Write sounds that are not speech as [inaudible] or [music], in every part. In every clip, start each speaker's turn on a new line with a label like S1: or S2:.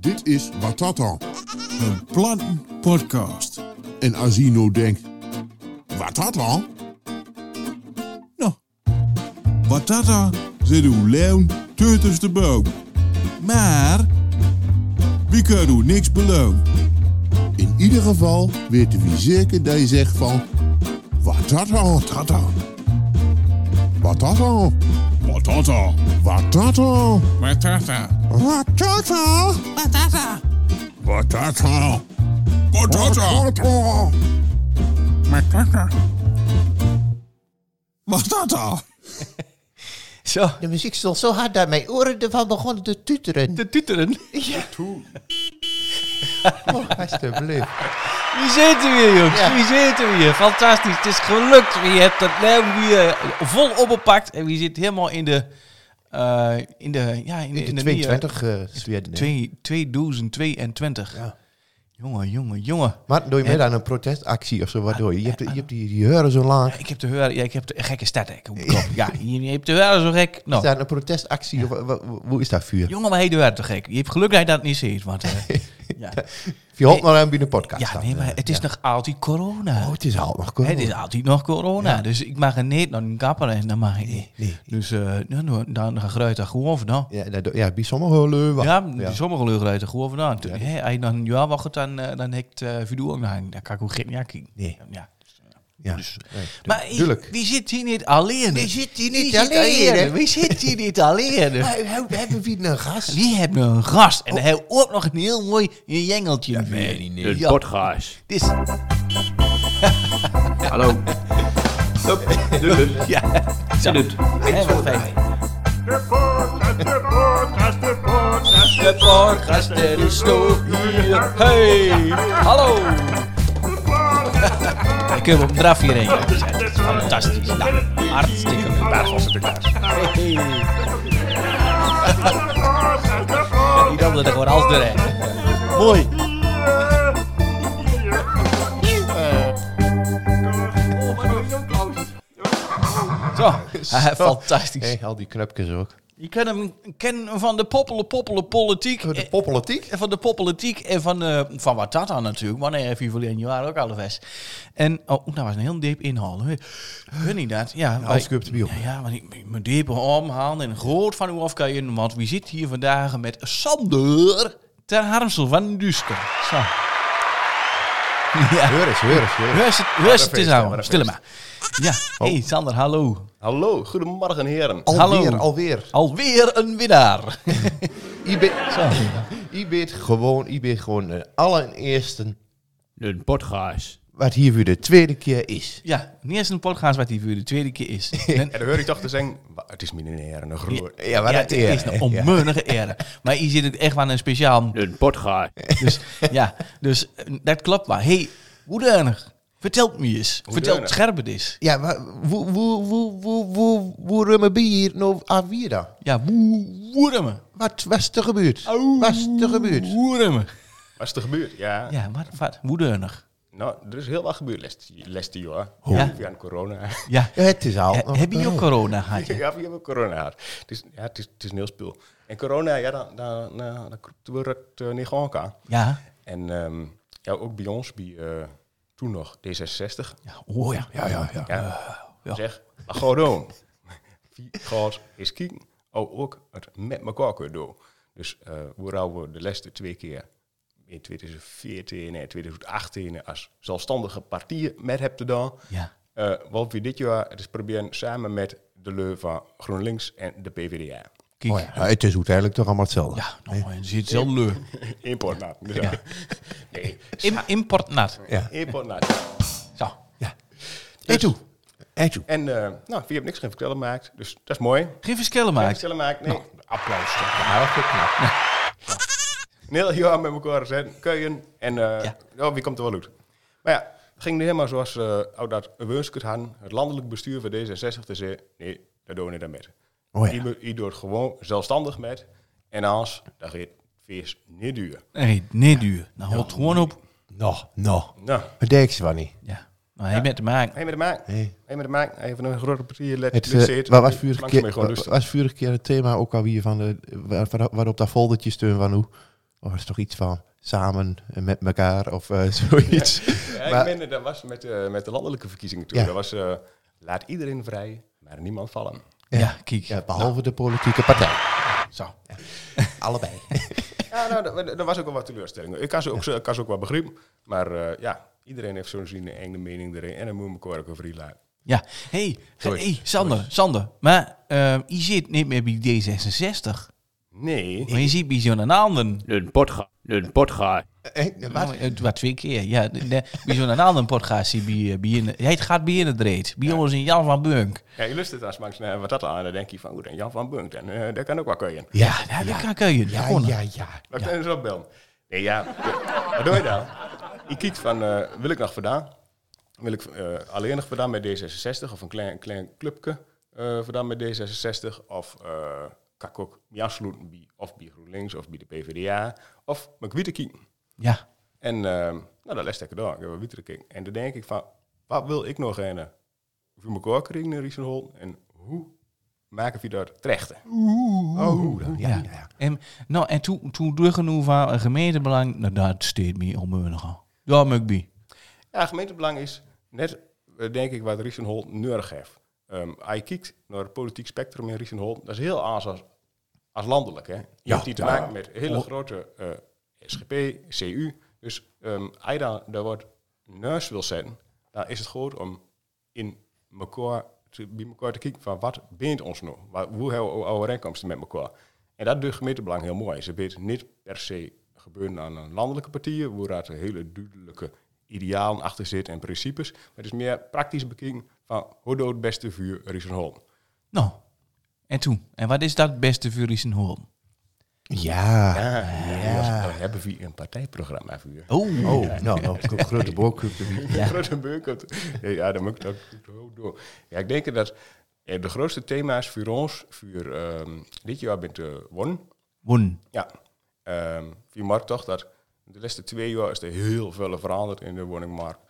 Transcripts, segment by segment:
S1: Dit is Wat dat dan?
S2: Een plannen podcast.
S1: En Asino denkt, wat dat dan?
S2: Nou, wat dat dan? Zit uw leeuw tussen de boom. Maar, wie kan u niks beloon?
S1: In ieder geval weten we zeker dat je zegt van, wat dat dan?
S2: Dat dan,
S1: Wat dat dan?
S2: wat dat dan,
S1: Wat dat dan?
S2: wat dat dan,
S1: Wat dat dan?
S2: wat dat dan,
S1: Wat dat dan?
S2: wat
S1: Wat dat dan?
S2: wat dat dan.
S3: Zo,
S4: De muziek Dus stond zo hard dat mijn oren ervan begonnen te tuteren.
S3: te tuteren.
S4: Oh, alsjeblieft.
S3: Wie zitten we hier, jongens?
S4: Ja.
S3: Wie zitten we hier? Fantastisch, het is gelukt. Je hebt dat nou weer vol opgepakt en wie zit helemaal in de... eh, in de, ja, in de,
S4: [laughs] In
S3: in
S4: de
S3: de nieuwe-
S4: 22 eh, Zweden. hè.
S3: Twee- 2022.
S4: Ja.
S3: Jongen, jongen, jongen.
S4: Maar doe je mee aan een protestactie of zo? Wat doe je? Je hebt, je hebt die, die heuren zo lang.
S3: Ik heb te horen, ja, ik heb de een gekke stad, hè. Kom, kom. Ja, je, je hebt te horen zo gek.
S4: Is
S3: Nou,
S4: daar een protestactie? of wa- wa- hoe is dat vuur?
S3: jongen, maar hij doet te gek. Je hebt geluk dat hij dat niet ziet, want... eh, ja.
S4: Je hoopt maar aan binnen podcast.
S3: ja,
S4: dan,
S3: nee, maar
S4: eh.
S3: het is nog altijd corona.
S4: Oh, het is al nog
S3: Het is altijd nog corona, dus ik mag er niet naar een kapper en dat mag ik niet.
S4: nee.
S3: Dus eh, nou, nou, dan geruit dat gewoon vandaan.
S4: Ja, dat, doe- ja bij sommigen wel leuk. wat.
S3: Ja, die sommige leugen uit er gewoon vandaan. Toen, hè, Als je dan een jaar wacht, dan, eh, dan heb ik het eh, video ook nog hangen. Dan kan ik ook geen ja kijken.
S4: Nee.
S3: Ja.
S4: ja.
S3: dus-
S4: Nee,
S3: Maar i-
S4: tuurlijk.
S3: wie zit hier niet alleen?
S4: Wie zit hier niet
S3: Wie zit
S4: alleen,
S3: alleen?
S4: hè?
S3: Wie zit hier niet alleen?
S4: [laughs] Maar we we hebben weer een
S3: [laughs]
S4: gast.
S3: Die hebben een gast
S4: Oh.
S3: en hij heeft ook nog een heel mooi jengeltje. Ja,
S5: Een
S3: Ja,
S5: podcast.
S3: dit is- [laughs]
S5: Hallo. Hup, doe het.
S3: ja.
S5: Zit het.
S3: Hè, wat fijn.
S5: De
S3: podcast er is nog hier. Hey, hallo. Dan kunnen we op een draf hierheen. Fantastisch. Nou, hartstikke leuk. Daar was het Hey. Die dan er gewoon alles doorheen. Mooi. Eh. Zo, [laughs] eh, fantastisch.
S4: Oh.
S3: Eh,
S4: Hey, al die knupjes ook.
S3: Je kunt hem kennen van de poppelen, poppelen politiek.
S4: Oh,
S3: Eh,
S4: De poppolitiek.
S3: En van de poppolitiek en van, eh van wat dat dan natuurlijk. Maar nee, even verleden jaar ook alle vest. En, oh, dat was een heel diep inhaal. hè. Hun niet dat. Ja,
S5: Nou,
S3: wij-
S4: alles gebeurt opnieuw.
S3: Ja, ja, want ik ik mijn diepe omhalen en groot van u af kan je. Want wie zit hier vandaag met Sander ter Harmsel van Dusker. Zo. Ja,
S4: Heur eens, heur eens, heur eens.
S3: rustig het, waar is het
S5: feest,
S3: is
S5: hè,
S3: aan,
S5: waar dat
S3: Stil
S5: feest. Oh.
S3: maar. Ja, hey Sander, hallo.
S5: Hallo, goedemorgen heren.
S4: Alweer,
S3: Hallo.
S4: alweer.
S3: Alweer een
S5: [laughs]
S3: winnaar.
S4: I bent- [laughs] I bent gewoon, I bent gewoon de allereerste
S5: Een podcast.
S4: wat hier weer de tweede keer is.
S3: Ja, niet eens een podcast wat die voor de tweede keer
S5: [laughs]
S3: is. En-
S6: En dan hoor ik toch te zeggen, "Wa- het is mijn heren een groer.
S4: Ja,
S3: [laughs]
S4: maar
S3: ja,
S4: dat
S3: het is een onmeunige ere. Maar hier zit het echt wel een speciaal.
S5: Een podcast.
S3: Dus, ja, dus eh, dat klopt maar. hey, hoedanig? Vertel me eens. Vertel het
S6: danig?
S3: scherp het is.
S4: Ja, maar hoe, hoe, hoe, hoe, hoe, hoe rummen we hier nou aan wie dan?
S3: Ja, woe- woeremen.
S4: Wat was er gebeurd? Wat is er gebeurd?
S3: Woeremen.
S6: Wat is er gebeurd? Ja.
S3: Ja, wat, wat? Woedanig.
S6: Nou, er is heel wat gebeurd last, last jaar.
S3: Ja.
S6: Via corona. [laughs]
S3: Ja.
S4: Ja, het is al.
S3: Eh, heb je ook corona gehad? ja?
S6: ja, we hebben corona gehad. Het is, ja, het is, het is een heel spul. En corona, ja, dan, dan, dan, dan kroept we het eh, niet gewoon elkaar.
S3: Ja.
S6: En ehm, ja, ook bij ons, bij eh, toen nog D66.
S3: ja. Oh ja. Ja, ja, ja. ja.
S6: Zeg, maar Oh. gewoon doen. Wie gaat eens kijken? Oh, ook het met elkaar kunnen doen. Dus eh we houden de laatste twee keer in 2014 en 2018 als zelfstandige partijen met hebben gedaan.
S3: Ja.
S6: Eh, wat we dit jaar dus proberen samen met de Leu van GroenLinks en de PvdA.
S3: [laughs] Kijk.
S4: Oh ja, ja, het is uiteindelijk toch allemaal hetzelfde.
S3: Ja, nou, je ziet het heel leuk.
S6: Importnaat.
S3: Ja.
S6: dus Nee,
S3: Im, import nat.
S6: importnaat.
S3: Zo.
S4: Hey toe. Hey toe.
S6: En eh, nou, wie heeft niks geen vertellen gemaakt, dus dat is mooi.
S3: Geen verschillen
S6: Geen
S3: maken.
S6: vertellen maken, nee. Applaus.
S4: Ja, Nou, dat vind ik knap.
S6: [laughs] Een heel jaar met elkaar zijn, keien en eh, oh, wie komt er wel uit. Maar ja, het ging niet helemaal zoals eh oud dat Weunskert hadden. Het landelijk bestuur van D66 te zeggen, nee, daar doen we niet aan met.
S4: Oh ja.
S6: Je moet- Je doet het gewoon zelfstandig met. En als, dan gaat het feest niet duur.
S3: Nee, nee duur. Nou, houdt gewoon op.
S4: Nog, nog.
S6: Nou,
S4: Maar denk ze wel niet.
S3: Ja. Nou, hij met te maken.
S6: heen met de maak.
S4: Nee.
S6: Heen met de maak. Even een grote partier let,
S4: Het,
S6: lid
S4: eh,
S6: zit.
S4: waar was vorige
S6: Langs mee
S4: keer,
S6: gewoon
S4: wa-
S6: rustig.
S4: was vorige keer het thema ook alweer van de, waar, waar- waarop dat foldertje steun van hoe? Of het is toch iets van samen en met elkaar of eh, [laughs] zoiets.
S6: Ja,
S4: Maar-
S6: ik meende, dat was met, eh, met de landelijke verkiezingen toen.
S4: Ja.
S6: Dat was, eh, laat iedereen vrij, maar niemand vallen.
S3: Ja, kijk.
S4: Ja, behalve de politieke partij.
S3: Zo.
S4: [laughs] Allebei.
S6: Ja, nou, dat- dat, dat was ook wel wat teleurstelling. Ik kan ze ook, ik kan ze ook wel begrip, maar eh, ja, iedereen heeft zo'n zin en eigen mening erin. En dan moet ik elkaar ook over laten.
S3: Ja, hey,
S6: Sorry.
S3: hey, Sander, Sander. Maar ehm, je zit niet meer bij D66,
S6: Nee,
S3: maar je zit bij zo'n ander.
S5: Een potga. Een potga.
S3: Nou, Het was twee keer, ja. de- de- Bij zo'n ander podcast zit bij, eh, bij in, het gaat bij in het reed. Bij ons in Jan van Bunk.
S6: ja, je lust het als langs naar wat dat aan. Dan denk je van, oeh, dan Jan van Bunk, en, eh dat kan ook wel kunnen.
S3: Ja, ja, dat kan- kun je. Ja,
S4: Ja,
S3: kon.
S4: ja, ja.
S6: Maar ik kan ze opbellen. Nee, ja, wat doe je dan? Ik kijk van, eh, wil ik nog vandaan? Wil ik eh, alleen nog vandaan met D66 of een klein, klein clubje eh vandaan met D66? Of eh kan ik ook me afsluiten bij, of bij GroenLinks of bij de PvdA? Of mijn kwijtekie?
S3: ja.
S6: En ehm, nou, dat les ik door. Ik heb een witte king. En dan denk ik van, wat wil ik nog een voor mijn koorkring naar Riesenhol? En hoe maken we dat terecht?
S4: Oh, ja, ja, ja.
S3: En, nou, en toen, toen doorgenoeg van eh, gemeentebelang, nou, dat steekt me onmeunig Ja, moet ik bij.
S6: Ja, gemeentebelang is net, eh, denk ik, wat Riesenhol nodig heeft. Ehm, als je kijkt naar het politiek spectrum in Riesenhol, dat is heel anders als, als landelijk. Hè? Je hebt hier te maken met hele grote eh, SGP, CU. Dus ehm als je daar, daar wordt neus wil zetten, dan is het goed om in elkaar te, bij elkaar te kijken van wat bindt ons nou? Wat, hoe hebben we overeenkomsten met elkaar? En dat doet gemeentebelang heel mooi. Ze weet niet per se gebeuren aan een landelijke partijen, waar daar hele duidelijke idealen achter zit en principes. Maar het is meer praktisch bekeken van hoe doet het beste vuur Riesenholm.
S3: Nou, en toen? En wat is dat beste voor Riesenhoorn?
S4: Ah, Ja.
S6: Ja, ja. Dan hebben we een partijprogramma vuur.
S3: Oh,
S4: Oh, nou, nou, ik heb een grote boek.
S6: [laughs] Ja. Grote beuk. had- Ja, Ja, dan moet ik dat ook door. Ja, ik denk dat eh, de grootste thema's voor ons, voor ehm, dit jaar bent de won.
S3: won.
S6: Ja. Ehm je merkt toch dat de laatste twee jaar is er heel veel veranderd in de woningmarkt.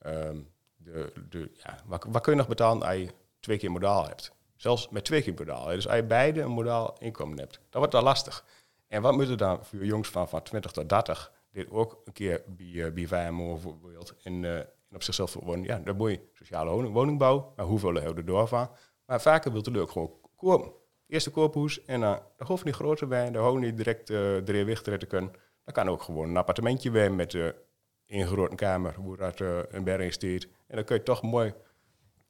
S6: Ehm, de, de, ja, wat, wat kun je nog betalen als je twee keer modaal hebt? Zelfs met twee keer modaal. hè. Dus als je beide een modaal inkomen hebt, dan wordt dat lastig. En wat moeten dan voor jongens van, van 20 tot 30 dit ook een keer bij, eh, bij VMO bijvoorbeeld en, eh, en op zichzelf wonen? Ja, dan moet je sociale woning, woningbouw, maar hoeveel houden er door van? Maar vaker wil het ook gewoon komen. Eerst de koophoes en dan de hoofd niet groter bij, de hoofd niet direct eh drie weg te kunnen. Dan kan ook gewoon een appartementje bij met eh ingeroorde kamer, hoe dat eh, een berg in steekt. En dan kun je toch mooi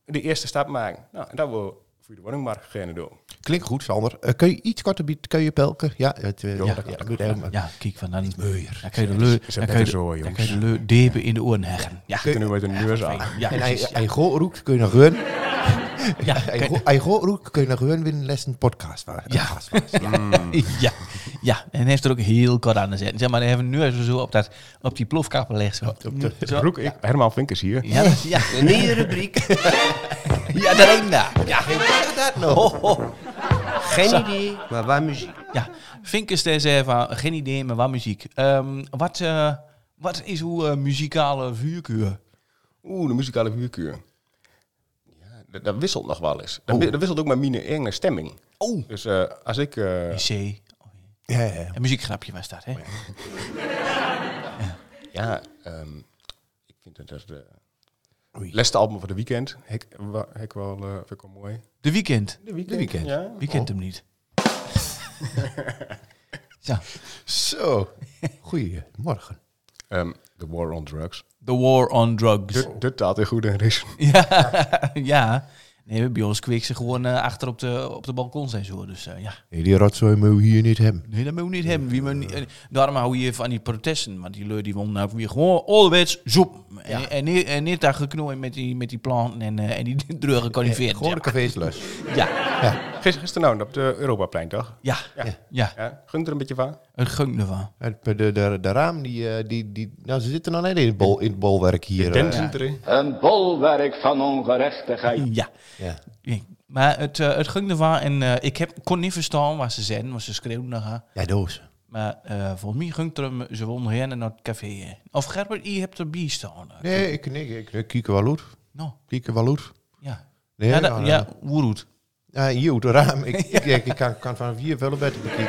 S6: de eerste stap maken. Nou, en dat wil voor de woningmarkt geen doen.
S4: Klinkt goed, Sander. Eh, kun je iets korter bieden? Kun je pelken? Ja, het, eh, ja,
S6: dat kan,
S4: ja,
S6: dat
S4: goed,
S6: kan.
S4: helemaal.
S3: Ja, kijk van dan. Dan kun je de leur,
S6: ze
S3: dan kun
S6: hebben
S3: je
S6: zo,
S3: de, dan
S6: jongens.
S3: kun je de leur diepen in de oren heggen. Ja,
S6: Kunnen we met een neus aan.
S3: ja,
S4: En
S3: precies, ja,
S4: hij roept, kun je nog hun.
S3: ja,
S4: Hij
S3: kun-
S4: go- Hij roept, kun je nog hun winnen lessen podcast. waar-
S3: Ja.
S4: podcast was.
S3: ja, ja, en hij heeft er ook heel kort aan te zetten. Zeg maar, hij heeft hem nu even zo op, dat, op die plofkap gelegd. Zo. Zo.
S6: Roek, ik, Herman Vink is hier.
S3: Ja, dat, ja. Een nieuwe rubriek. ja, daar heen daar. Ja,
S4: Dat nog.
S3: ho, ho.
S7: Geen idee, maar waar muziek.
S3: Ja, Vinkers der Zerva, geen idee, maar wat muziek. Ehm, wat, eh, wat is uw eh, muzikale vuurkuur?
S6: Oeh, de muzikale huurkuur. Ja, dat, dat wisselt nog wel eens. Dat, wi- dat wisselt ook met mijn enge stemming.
S3: Oh,
S6: Dus eh, als ik... eh,
S3: C.
S4: Ja, ja.
S3: Een muziekgrapje was dat, hè?
S6: Ja, ehm, ik vind dat dat... de Leste album van de weekend. Hek, wa- hek wel, eh, vind ik wel mooi.
S3: De Weekend.
S6: De weekend.
S4: Weeknd.
S6: Ja.
S3: Wie kent hem niet? Zo,
S4: Zo. Goedemorgen.
S6: Ehm, the War on Drugs.
S3: The War on Drugs.
S6: De, de taal in goede en [laughs] ris.
S3: [laughs] ja. Nee, bij ons kweek ze gewoon eh, achter op de, op de balkon zijn zo. Dus eh, ja.
S4: Nee, die rotzooi moet je hier niet hebben.
S3: Nee, dat moet je niet hebben. Wie moet niet, en daarom hou je van die protesten. Want die lui die wonen nou weer gewoon ouderwets zoep. En, en, niet- en niet daar geknooid met die, met die planten en, eh, en die [laughs] druge coniferen.
S4: Gewoon de cafés los.
S3: ja.
S6: Gister, gisteravond nou, op de Europaplein, toch?
S3: Ja. ja, ja.
S6: Ja, gunt er een beetje van.
S3: Een gung ervan.
S4: Het- De, de, de, raam, die, eh, die, die, nou, ze zitten nog net in het, bol, in het bolwerk hier. eh.
S6: Denzen erin.
S8: Een bolwerk van ongerechtigheid.
S3: Ja.
S4: eh, Ja.
S3: Ja. Maar het, eh, het ging ervan en eh, ik heb, kon niet verstaan wat ze zeiden, want ze schreeuwden naar haar.
S4: Ja, doos.
S3: Maar eh, volgens mij ging het hem, ze wilden heen naar het café. hè. Of Gerbert, je hebt er bier staan.
S4: Nee, ik, nee, ik, ik, ik kijk er wel uit.
S3: Nou,
S4: Kijk er wel uit.
S3: ja.
S4: Nee,
S3: ja, dat-
S4: ja,
S3: ja, hoe roet.
S4: Ja, hier uit het raam. Ik, ik, denk, ik kan, kan van hier veel beter bekijken.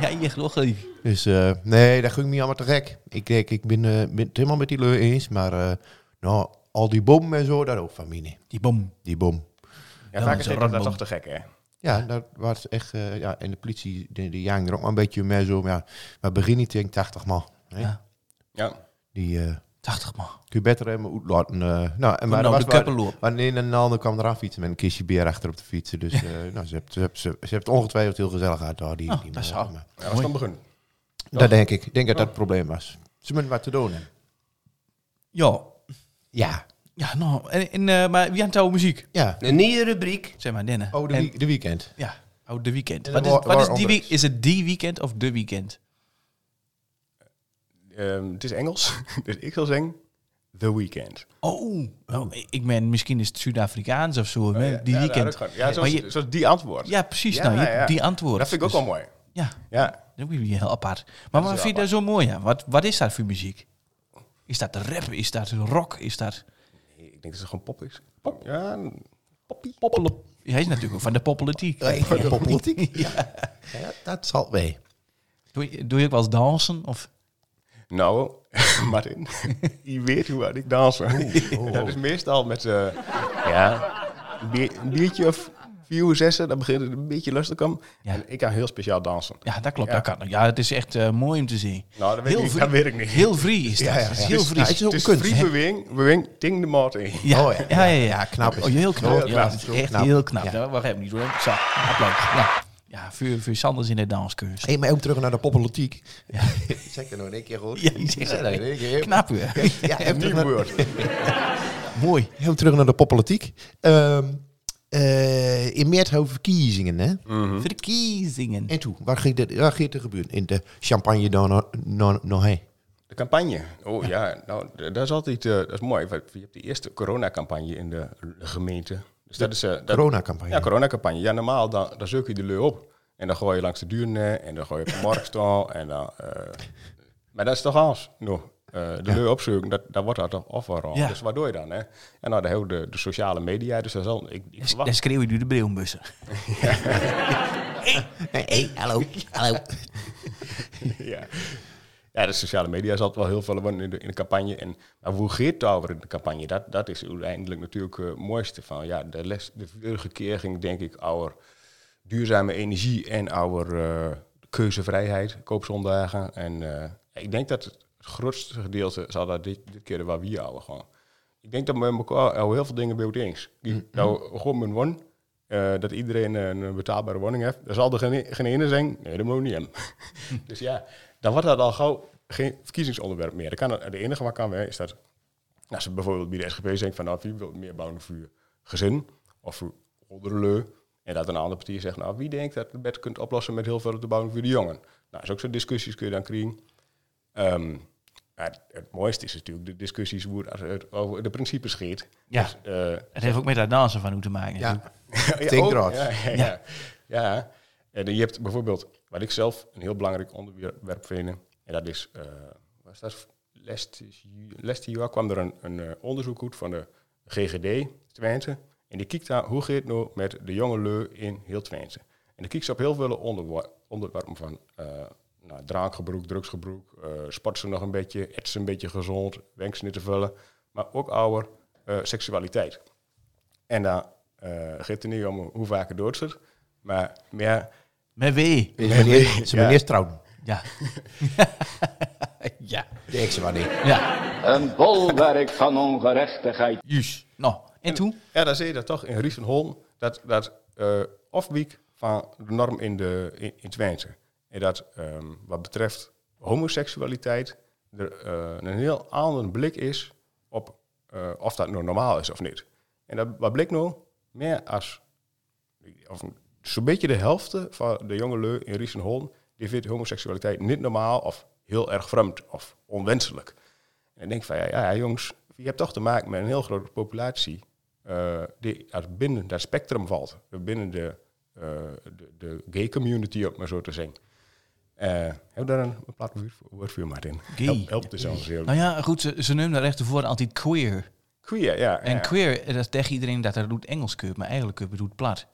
S3: Ja, je geloof ik.
S4: Dus eh, nee, dat ging me allemaal te gek. Ik denk, ik ben, eh, ben het helemaal met die lui eens. Maar eh, nou, al die bom en zo, dat ook van mij niet.
S3: Die bom.
S4: Die bom.
S6: Ja,
S3: dat
S6: vaak
S3: is
S6: is
S3: een
S6: dat
S3: rotbom.
S6: toch te gek, hè?
S4: Ja, dat was echt... eh, ja, en de politie, die, die jagen er ook maar een beetje mee zo. Maar, ja, maar begin niet tegen 80 man. Hè?
S3: Ja.
S6: Ja.
S4: Die... eh,
S3: 80 man.
S4: Kun je beter helemaal uitlaten. eh nou, en
S3: nou,
S4: maar er
S3: de
S4: was
S3: keppel
S4: wel-
S3: op.
S4: Want een en ander kwam eraf fietsen met een kistje bier achter op de fietsen. Dus eh, nou, ze heeft ze heeft- ze heeft- ze heeft ongetwijfeld heel gezellig uit. Oh, die,
S3: Oh,
S4: die
S3: best
S4: mannen.
S3: wel.
S4: Maar
S6: Ja, was dan begonnen.
S4: Dat denk ik. Ik denk dat dat het probleem was. Ze moeten wat te doen hebben.
S3: Ja.
S4: Ja.
S3: Ja, nou. En, en, eh, maar wie aan touw muziek?
S4: Ja.
S7: Een nieuwe rubriek.
S3: Zeg maar, Denne.
S4: Oh, de,
S3: En-
S4: wie- de weekend.
S3: Ja. Oh, de weekend.
S4: En
S3: Wat is,
S4: dan
S3: wat
S4: waar-
S3: is
S4: waar
S3: die
S4: anders?
S3: week? Is het die weekend of de weekend?
S6: Ehm, het is Engels, [laughs] dus ik zal zeggen The Weekend.
S3: Oh. oh, Ik ben misschien is het Zuid-Afrikaans of zo. hè, die
S6: Oh, Ja,
S3: weekend.
S6: dat kan. Ja, zoals,
S3: Maar je-
S6: zoals die antwoord.
S3: Ja, precies.
S6: dus. Ja,
S3: nou, je
S6: ja.
S3: hebt die antwoord.
S6: Dat vind ik ook
S3: Dus-
S6: wel mooi.
S3: Ja,
S6: Ja.
S3: dat is heel apart. Maar wat
S6: heel
S3: vind je daar zo mooi aan? Wat, wat is dat voor muziek? Is dat rap? Is dat rock? Is dat...
S6: Ik denk dat het gewoon pop is. Pop. Ja, poppie.
S3: Poppelen. Hij is natuurlijk ook van de poppolitiek.
S4: Van de
S3: [laughs]
S4: politiek. ja. Ja, Dat zal wij.
S3: Doe, je- doe je ook wel eens dansen? Of...
S6: Nou, [laughs] Martin, je weet hoe hard ik dansen. [laughs] Dat is meestal met eh, ja, een bier- een biertje of vier of zes, dan begint het een beetje lastig te komen.
S3: Ja.
S6: En ik kan heel speciaal dansen.
S3: Ja, dat klopt.
S6: Ja.
S3: Dat kan. Ja, het is echt eh, mooi om te zien.
S6: Nou, dat weet,
S3: Heel
S6: ik, niet,
S3: vri-
S6: dat weet ik niet.
S3: Heel free is dat.
S4: Ja, ja, ja.
S3: Het is heel
S4: Dus-
S3: free.
S4: nou, het is ook
S6: Het is
S4: kunst,
S6: free
S4: hè?
S6: beweging, beweging, ting de maat in.
S3: ja,
S4: Oh,
S3: ja, ja,
S4: ja.
S3: ja.
S4: Ja, knap is
S3: Oh, ja, heel knap.
S4: Heel
S3: Ja,
S4: knap.
S3: het is
S4: Heel
S3: echt
S4: knap.
S3: heel knap.
S4: Ja.
S3: Ja. Wacht even, niet hoor. Zo, applaus. Ja, ja voor, voor Sanders in de danskunst.
S4: Hey, maar ook terug naar de poppolitiek. [laughs] zeg dat nog een keer
S3: [laughs]
S4: goed.
S3: Ja, je zegt dat
S4: Zeg dat
S3: in
S4: in één keer.
S3: Knap [laughs] weer.
S4: Ja, even terug
S6: Nieuw
S4: naar-
S6: woord.
S4: [laughs]
S3: Mooi.
S4: Heel terug naar de poppolitiek. Ehm, eh, in maart hebben we verkiezingen, hè?
S3: Verkiezingen.
S4: En toen, waar ging dit- waar ging het er gebeuren? In de champagne dan nog no, no, heen?
S6: De campagne. Oh ja, nou, d- dat is altijd eh, dat is mooi. want Je hebt de eerste coronacampagne in de gemeente. Dus dat is, eh, dat-
S4: Coronacampagne.
S6: Ja, coronacampagne. Ja, normaal dan, dan zoek je de leu op. En dan gooi je langs de duurne en dan gooi [laughs] je op de marktstal. en dan, eh, maar dat is toch anders? Nou, eh, de leu opzoeken, dat, dat wordt dat toch of wel
S3: Ja.
S6: Dus wat doe je dan? Hè? En nou, de, hele- de, de sociale media. Dus dat is al, ik, ik verwacht-
S3: Dan schreeuw je door de brilbussen.
S4: hey, hallo, hallo.
S6: [laughs] ja. ja, de sociale media zal het wel heel veel worden in de, in de campagne. En, maar hoe geert het over in de campagne? Dat, dat is uiteindelijk natuurlijk eh, het mooiste van. Ja, de, les, de vorige keer ging denk ik over duurzame energie en over eh, keuzevrijheid, koopzondagen. En eh, ik denk dat het grootste gedeelte zal dat dit, dit keer waar we houden gewoon. Ik denk dat we met elkaar al heel veel dingen bij eens. Die Nou, gewoon een won. eh, dat iedereen een, een betaalbare woning heeft. Er zal er geen, e- geen ene zijn. Nee, dat moet niet hebben. [laughs] dus ja, dan wordt dat al gauw geen verkiezingsonderwerp meer. Dan kan het, de enige wat kan hè, is dat... Nou, ze bijvoorbeeld bij de SGP zeggen van... Nou, wie wil meer bouwen voor je gezin? Of voor oudere leu? En dat een andere partij zegt... Nou, wie denkt dat het bed kunt oplossen met heel veel te bouwen voor de jongen? Nou, dat is ook zo'n discussies kun je dan krijgen. Ehm, maar het, het mooiste is natuurlijk de discussies hoe het, het over de principes gaat.
S3: Ja.
S6: Dus, eh,
S3: Het heeft ook met dat dansen van hoe te maken.
S4: Ja,
S6: [laughs] ja,
S4: Think
S6: ook.
S4: rot.
S6: Ja, ja, ja. ja. En je hebt bijvoorbeeld, wat ik zelf een heel belangrijk onderwerp vind, en dat is, eh was dat laatste jaar kwam er een, een eh, onderzoek uit van de GGD Twente. En die kijkt daar, hoe gaat het nou met de jonge leu in heel Twente? En dan kijkt ze op heel veel onderwa- onderwerpen van eh nou, drankgebruik, drugsgebruik, eh sport ze nog een beetje, eten ze een beetje gezond, wenk ze niet te vullen, maar ook ouder, eh, seksualiteit. En dan eh gaat het niet om hoe vaak het dood zit. Maar meer,
S3: Met wie?
S4: is mijn eerst- is mijn
S6: Ja.
S4: eerst trouwen.
S3: Ja. ja.
S4: De ex van die.
S3: Ja.
S8: Een bolwerk van ongerechtigheid.
S3: Juus. Nou, en toen?
S6: ja, dan zie je dat toch in Riesenholm, dat, dat eh afwiek van de norm in, de, in, in Twente. En dat ehm, wat betreft homoseksualiteit, er eh, een heel andere blik is op eh, of dat nou normaal is of niet. En dat, wat bleek nou? Meer als, of zo'n beetje de helft van de jongelui in Riesenholm, die vindt homoseksualiteit niet normaal of heel erg vreemd of onwenselijk. En ik denk van, ja, ja jongens, je hebt toch te maken met een heel grote populatie eh, die als binnen dat spectrum valt. Binnen de, eh, de, de gay community, om het maar zo te zeggen. Eh, hebben we daar een, een plat woord- woord voor, Martin?
S3: Gay.
S6: Help, help de zelfs heel.
S3: Nou ja, goed, ze, ze noemen daar echt voor altijd queer.
S6: Queer, ja.
S3: En
S6: ja.
S3: queer, eh, dat zegt iedereen dat dat doet Engels keur, maar eigenlijk keur bedoelt plat.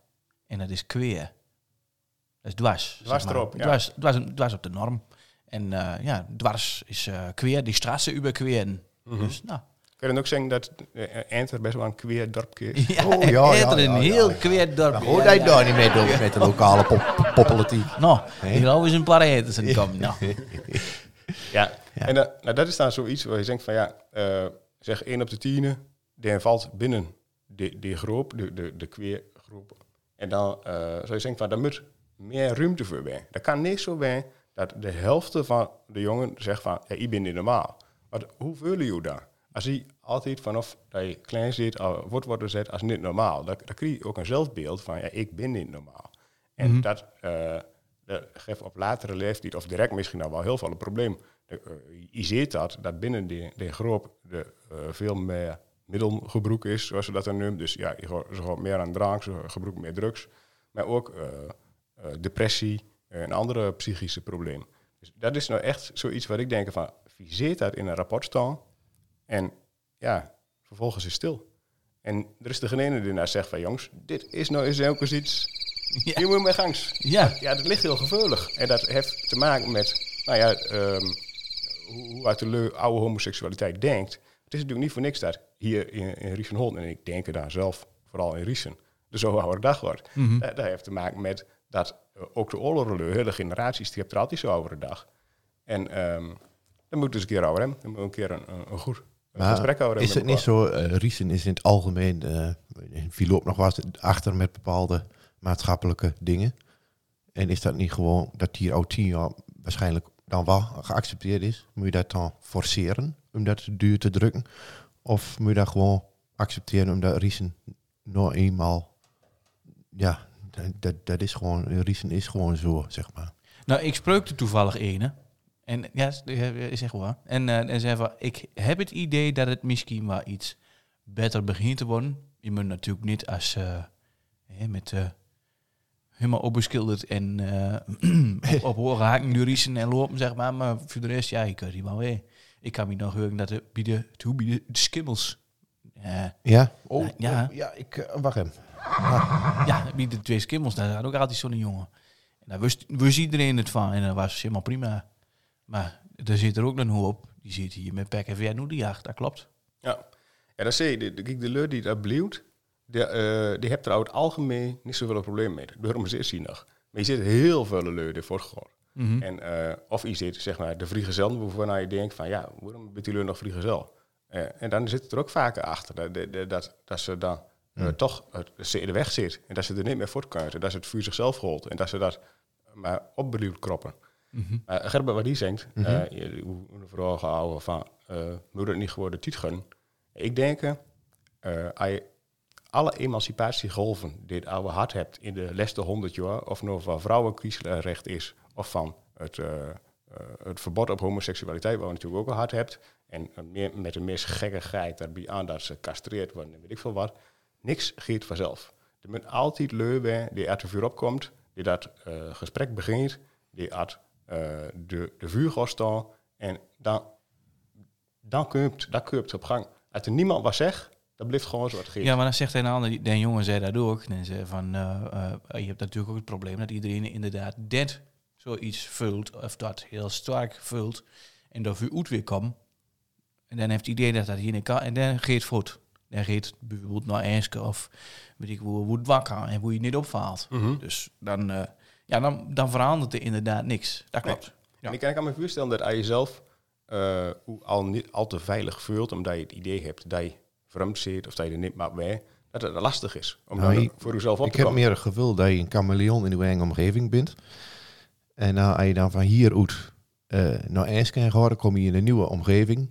S3: En dat is queer. Dat is dwars.
S6: Dwars
S3: zeg
S6: erop, ja.
S3: Dwars, dwars, dwars op de norm. En eh, ja, dwars is eh queer. Die strassen über queeren.
S4: Mhm.
S3: Dus nou.
S6: Kun je dan ook zeggen dat eh, Enter best wel een queer dorpje
S3: [laughs]
S6: is?
S3: Ja,
S4: Oh, ja,
S3: het
S4: ja,
S3: is
S4: ja,
S3: een
S4: ja,
S3: heel
S4: ja.
S3: queer dorp.
S4: Maar hoor
S3: Ja,
S4: jij
S3: ja.
S4: daar niet mee door met de lokale pop poppolitiek?
S3: Nou, hier alweer een paar eters in komen. Nou.
S4: [laughs]
S6: Ja. En dan- nou, dat is dan zoiets waar je denkt van ja, eh, zeg 1 op de 10, die valt binnen die, die groep, de, de, de queergroep. En dan eh, zou je denken van daar moet meer ruimte voor bij. Dat kan niet zo bij dat de helft van de jongen zegt van ja, ik ben niet normaal. Maar hoe voelen jullie dat? Als je altijd vanaf dat je klein zit, al wordt worden gezet als niet normaal, dan, dan krijg je ook een zelfbeeld van ja, ik ben niet normaal. En dat, eh, dat geeft op latere leeftijd, of direct misschien al wel heel veel een probleem. De, eh, je ziet dat, dat binnen die, die groep de, eh, veel meer middelgebruik is, zoals ze dat dan noemen. Dus ja, je go- ze gaan meer aan drank, ze gebruiken meer drugs. Maar ook eh, eh, depressie eh, en andere psychische problemen. Dus dat is nou echt zoiets waar ik denk van, wie zit dat in een rapport staan? En ja, vervolgens is stil. En er is de genene die nou zegt van, jongens, dit is nou eens ook eens iets.
S3: Ja.
S6: Je moet mee gangs.
S3: Ja.
S6: Ja, dat ligt heel gevoelig. En dat heeft te maken met, nou ja, ehm, hoe, hoe uit de leu- oude homoseksualiteit denkt. Het is natuurlijk niet voor niks dat hier in, in Riesenhold, en ik denk er daar zelf vooral in Riesen, de zo oude dag wordt.
S4: Mhm.
S6: Eh, dat, dat heeft te maken met dat eh, ook de oorlogen, hele generaties, die hebben er altijd zo'n oude dag. En ehm, dan moet dus een keer ouder hem, dan moet een keer een, een, een goed een gesprek houden.
S4: Ah, is
S6: met
S4: het niet
S6: elkaar.
S4: zo, eh, Riesen is in het algemeen, eh wie loopt nog wat achter met bepaalde maatschappelijke dingen? En is dat niet gewoon dat hier al tien jaar waarschijnlijk dan wel geaccepteerd is? Moet je dat dan forceren om dat duur te drukken? Of moet je dat gewoon accepteren omdat Riesen nou eenmaal, ja, dat- dat, dat is gewoon, Riesen is gewoon zo, zeg maar.
S3: Nou, ik spreukte toevallig ene. En ja, is- is echt waar. En, eh, en zei van, ik heb het idee dat het misschien wel iets beter begint te worden. Je moet natuurlijk niet als eh, hè, met eh, helemaal opbeschilderd en eh, [clears throat] op, op hoge haken durisen en lopen, zeg maar. Maar voor de rest, ja, ik kan die wel weer. Ik kan me nog horen dat de bieden, toe bieden, de skimmels. eh, Ja,
S4: Ja? Oh,
S3: ja.
S4: oh, ja ik, eh, wacht even.
S3: ja, bieden de twee skimmels, daar had ook altijd zo'n jongen. En daar wist, wist iedereen het van en dat was helemaal prima. Maar er zit er ook een hoe op. Die zit hier met Pek en Vern die jacht, dat klopt.
S6: Ja. En dan zie je, de, de, kijk, de leur die dat bleeuwt, die, eh die hebt er over het algemeen niet zoveel probleem mee. Daarom is het hier nog. Maar je zit heel veel leur ervoor gewoon. En, eh, of je zit, zeg maar, de vrijgezel, waarvan je denkt van, ja, waarom bent die leur nog vrijgezel? Eh en dan zit het er ook vaker achter, dat, dat, dat, dat ze dan eh, toch het- dat ze in de weg zit. En dat ze er niet meer voort kunnen. Dat ze het vuur zichzelf holt. En dat ze dat maar opbelieuwd kroppen. Eh, Gerber, wat die zegt, eh, je- hoe hoe de vooral gehouden van, eh moet het niet gewoon de tiet gunnen? Ik denk, eh, als je alle emancipatiegolven die het oude hart hebt in de laatste honderd jaar, of nou van vrouwenkiesrecht is, of van het, eh, eh, het verbod op homoseksualiteit, wat we natuurlijk ook al hard hebt, en een meer, met een misgekkigheid daarbij aan dat ze castreerd worden en weet ik veel wat, niks geeft vanzelf. Er moet altijd leuwe die uit de vuur opkomt, die dat eh, gesprek begint, die uit eh, de, de vuur gaat staan, en dan dan komt, dat komt op gang. Als er niemand wat zegt, dan blijft gewoon zo wat geeft.
S3: Ja, maar dan zegt een ander, den jongen zei dat ook. En zei van, eh, eh, je hebt natuurlijk ook het probleem dat iedereen inderdaad dat zoiets vult, of dat heel sterk vult, en dat u uit weer komt. En dan heeft het idee dat dat hier niet kan, en dan geeft het voort. Dan geeft het bijvoorbeeld naar Enske of weet ik hoe, hoe het wakker en hoe je het niet opvaalt. Dus dan, eh, ja, dan, dan verandert er inderdaad niks. Dat klopt. Ja.
S6: En ik kan ik aan me voorstellen dat als je zelf eh, hoe al niet al te veilig voelt, omdat je het idee hebt dat je vreemd zit of dat je er niet maar bij, dat het lastig is om
S4: Nou,
S6: dan
S4: ik-
S6: voor jezelf op
S4: Ik
S6: te
S4: heb
S6: komen.
S4: meer gewild dat je een chameleon in uw eigen omgeving bent. En nou, als je dan van hieruit eh naar IJs kan gaan, dan kom je in een nieuwe omgeving.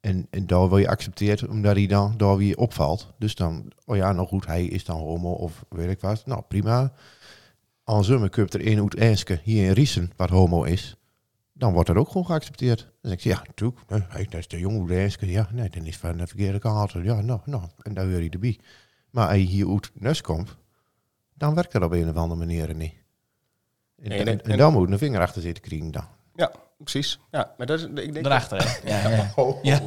S4: En, en daar word je accepteerd, omdat hij dan daar weer opvalt. Dus dan, oh ja, nou goed, hij is dan homo of weet ik wat. Nou, prima. Al zullen we er in uit Eeske, hier in Riesen, wat homo is. Dan wordt dat ook gewoon geaccepteerd. Dan zeg ik, ja, natuurlijk. Nee, hij- dat is de jongen uit Eeske. Ja, nee, dan is het van de verkeerde kant. Ja, nou, nou. En daar hoor je erbij. Maar als je hier uit Nes komt, dan werkt dat op een of andere manier niet. En,
S6: Nee,
S4: en,
S6: nee,
S4: en
S6: en-
S4: dan moet een vinger achter zitten krijgen dan.
S6: Ja, precies. Ja, maar dat is, ik denk
S3: Daarachter, hè? Ja, ja, ja. [laughs]
S4: Oh,
S3: Ja.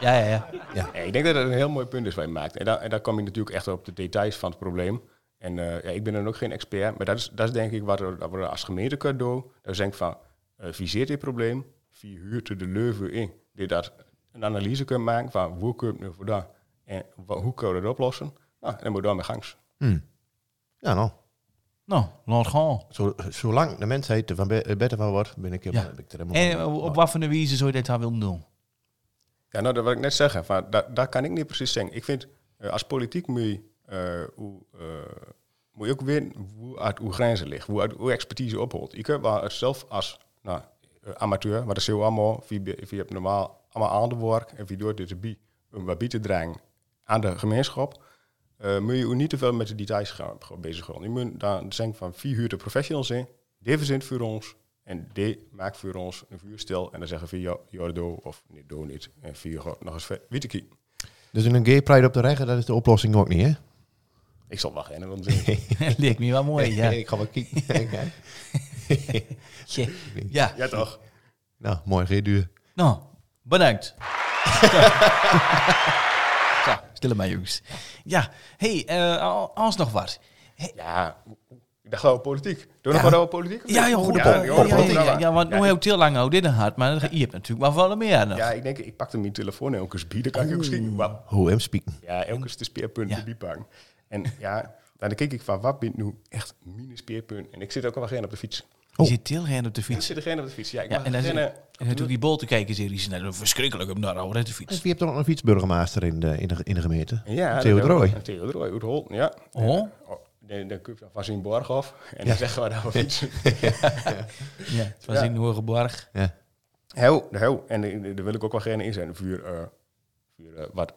S3: ja, ja, ja.
S4: Ja.
S6: Nee, ik denk dat dat een heel mooi punt is wat je maakt. En, daar en daar kom je natuurlijk echt op de details van het probleem. En eh, ja, ik ben dan ook geen expert, maar dat is, dat is denk ik wat we, wat we als gemeente kunnen doen. Dat is denk ik van, eh, viseer dit probleem, wie huurt er de leuven in? Die dat een analyse kunnen maken van, hoe kun je het nu vandaan? En wa- hoe kunnen we dat oplossen? Nou, en dan moet je daarmee gangs.
S4: Ja, nou.
S3: Nou, laat gaan.
S4: Zo, zolang de mensheid er van be- eh, beter van wordt, ben ik,
S3: Ja.
S4: heb ik er helemaal
S3: En
S4: van.
S3: eh, op wat voor een wijze zou je dit dan willen doen? [laughs]
S6: Ja, nou, dat wil ik net zeggen. Van, dat, dat kan ik niet precies zeggen. Ik vind, eh, als politiek moet je, eh, hoe, eh, moet je ook weten hoe uit uw grenzen ligt, hoe, uit, hoe expertise opholt. Je kunt wel zelf als nou, eh, amateur, maar dat is heel allemaal, wie, be- wie hebt normaal allemaal aan de werk en wie doet dit erbij, om wat bij te dragen aan de gemeenschap, eh, moet je je niet te veel met de details gaan gaan bezighouden. Je moet daar denken van, wie huurt de professionals in, die verzint voor ons, en die maakt voor ons een vuurstel. En dan zeggen we ja, Jordo of nee, doe niet. En vier gaat nog eens ver. Wittekie.
S4: Dus een gay pride op de regen, dat is de oplossing ook niet, hè?
S6: Ik zal wachten. hè, Want eh,
S3: Dat leek me wel mooi, ja.
S4: [laughs] ik ga wel kijken.
S3: Ja. ja.
S6: ja, toch?
S4: nou, mooi, geen duur.
S3: Nou, bedankt. Zo, stille maar jongens. Ja, hey, eh als nog wat.
S6: Ja, dat gaan we politiek. Doen we nog
S3: Ja.
S6: wat over politiek? of niet?
S3: Ja, joh, goed.
S6: ja,
S3: Ja,
S6: joh,
S3: ja,
S6: goed,
S3: ja, ja,
S6: nou,
S3: ja, want
S6: ja,
S3: hoe
S6: ik-
S3: heel te lang houdt dit dan hard, maar je hebt natuurlijk maar wel meer nog.
S6: Ja, ik denk, ik pakte mijn telefoon en elke gebied. Dan kan ik ook schieten. Wap.
S4: Hoe hem spieken.
S6: Ja, elke is de speerpunt
S3: Ja.
S6: die die bang. En ja, dan keek ik van, wat bent nu echt mijn speerpunt? En ik zit ook al geen op de fiets.
S3: Je zit heel geen op de
S6: Ik
S3: fiets.
S6: zit er geen op de fiets. Ja,
S3: Oh.
S6: ik
S3: Ja,
S6: mag
S3: en dan zit-
S6: geen, eh,
S3: en natuurlijk die bol te kijken, zie je, die is net verschrikkelijk om daar over te
S4: Dus
S3: fietsen.
S4: wie hebt er nog een fietsburgemeester in de, in de, in de gemeente?
S6: eh, Ja,
S4: Theo
S6: dat-
S4: Drooy.
S6: Theo Drooy, uit Holten, ja.
S3: Oh,
S6: Oh, dan, dan kun je van zijn borg af en dan zeggen we daar
S3: [laughs]
S6: wel iets.
S3: ja. Het was in Hogeborg.
S4: Ja.
S6: Heel, heel. En eh, daar wil ik ook wel geen in zijn. Vuur, eh, vuur, eh, wat,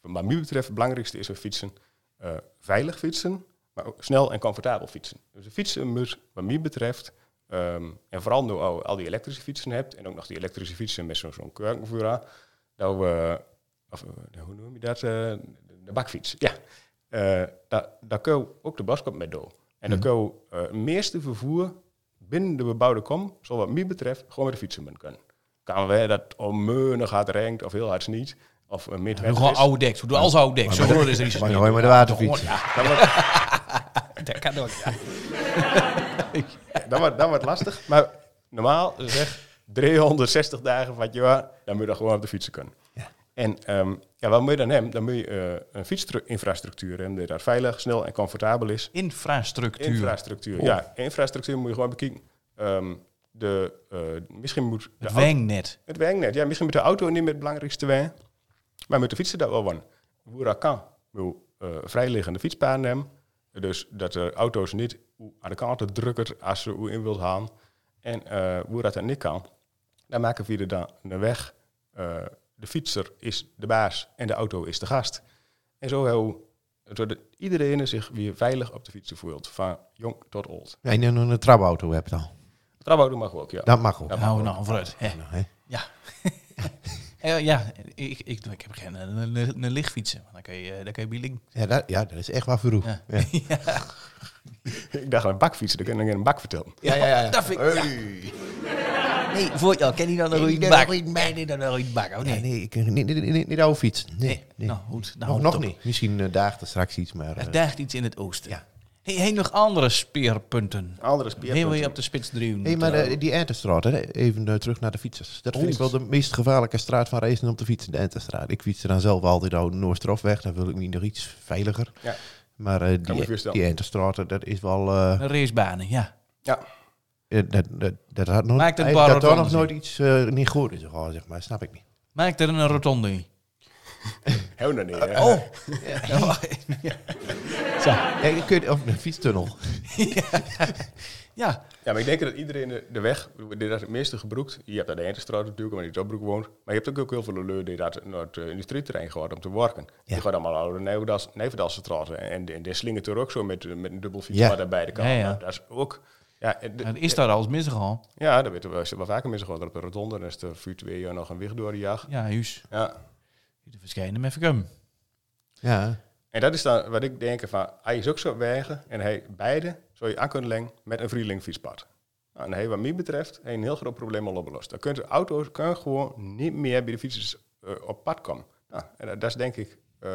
S6: wat mij betreft het belangrijkste is we fietsen eh, veilig fietsen, maar ook snel en comfortabel fietsen. Dus de fietsen moet, wat mij betreft, ehm, en vooral nu al, al die elektrische fietsen hebt, en ook nog die elektrische fietsen met zo'n zo'n kurkenvuur aan, dat we, of, eh, hoe noem je dat, eh, de bakfiets, ja. Eh daar, daar kun je ook de baskop mee door. En dan kun je eh, het meeste vervoer binnen de bebouwde kom, zal wat mij betreft, gewoon met de fietsen mee kunnen. Kan we dat om meunen gaat regent of heel hard sneeuwt, of uh, midweg
S3: Doe gewoon
S6: is.
S3: oude deks. Doe alles oude deks. Zo hoor is er iets.
S4: Maar nooit met de waterfiets.
S3: Dat kan ook, ja.
S6: dat wordt, dat wordt lastig. Maar normaal zeg 360 dagen van het jaar, dan moet je gewoon op de fietsen kunnen. En ehm, ja, wat moet je dan hebben? Dan moet je eh, een fietsinfrastructuur hebben die daar veilig, snel en comfortabel is.
S3: Infrastructuur.
S6: Infrastructuur. Ja, infrastructuur moet je gewoon bekijken. Ehm, de, eh, misschien moet de
S3: Het
S6: auto-
S3: wengnet.
S6: het wegnet. Ja, misschien met de auto niet meer het belangrijkste weg. Maar met de fietsen dat wel van. Hoe kan. Wil eh, vrijliggende fietspaden hebben. Dus dat de auto's niet hoe aan de kanten drukken als ze hoe in wilt gaan. En eh hoe dat dan niet kan. Dan maken we er dan een weg. Eh, de fietser is de baas en de auto is de gast. En zo heel, zodat iedereen zich weer veilig op de fietsen voelt. Van jong tot oud.
S4: Ja, en dan een trapauto hebt al.
S6: Trabouw mag ook, ja.
S4: Dat mag ook.
S3: Nou, nou, vooruit. hè.
S4: Nou, hè.
S3: Ja. Eh, ja, ik, ik, ik heb geen eh, een, een, een lichtfietsen. want Dan kun je, eh, dan kun je bieling.
S4: Ja, dat, ja, dat is echt waar voor roep.
S3: [laughs] Ja.
S4: Ja.
S6: [laughs] Ik dacht aan een bakfietsen, dan kan ik een bak vertellen.
S3: Ja, ja, ja. Dat vind ik. ja. Nee, voor jou, ken je dan een rode bak? Nee, nee, dan een rode bak. Oh,
S4: Ja,
S3: nee.
S4: nee, ik, niet, niet, niet, niet oude fiets. Nee,
S3: Nee,
S4: nee.
S3: nou goed. Nou,
S4: nog, nog
S3: toch.
S4: niet. Misschien eh, daagt er straks iets, maar... eh,
S3: Er daagt iets in het oosten.
S4: Ja.
S3: Hey, hey, nog andere speerpunten.
S6: Andere
S3: Heel
S6: speerpunten.
S3: je op de spits driehoek.
S4: Hé, maar eh, die Entenstraat, hè? even eh, terug naar de fietsers. Dat vind ik wel de meest gevaarlijke straat van reizen op de fiets, de Entenstraat. Ik fiets er dan zelf altijd over de Noorstrofweg, dan wil ik niet nog iets veiliger.
S6: Ja.
S4: Maar eh,
S6: me
S4: die,
S6: voorstellen.
S4: die Entenstraat, eh, dat is wel... eh,
S3: Een racebanen, ja.
S6: Ja.
S4: eh, dat, dat, dat had nog,
S3: Maakt het
S4: eh,
S3: bar
S4: dat daar
S3: rotonde
S4: nog nooit iets eh, niet goed is gegaan, zeg maar. Snap ik niet.
S3: Maak er een rotonde [laughs] in.
S6: Heel naar neer. hè.
S3: Oh! Ja. Zo.
S4: Ja, je kunt, of een fietstunnel.
S3: Ja.
S6: Ja, maar ik denk dat iedereen de, de weg, die dat het meeste gebruikt, je hebt aan de Entenstraat natuurlijk, omdat je in Tobbroek woont, maar je hebt ook, ook heel veel leur die dat naar het eh, industrieterrein gaat om te werken. Die gaat allemaal oude Nijverdals- Nijverdalse straten en, en die slingert er ook zo met, eh, met een dubbel fiets
S4: Ja.
S6: aan beide kanten.
S3: Ja, ja.
S6: Nou, dat is ook... Ja, en de-
S3: Het is daar alles misgegaan.
S6: ja, daar weten we, wel vaker mensen gewoon op de rotonde, dan is de vuur twee jaar nog een wicht door de jacht.
S3: Ja, huis.
S6: Ja.
S3: De verschijnen met verkum.
S4: Ja,
S6: En dat is dan wat ik denk van, hij is ook zo wegen en hij beide zou je aan kunnen lengen met een vrieling fietspad. Nou, en hij, wat mij betreft, een heel groot probleem al opgelost. Dan kunnen auto's kunnen gewoon niet meer bij de fietsers eh, op pad komen. Nou, en En dat, dat is denk ik eh,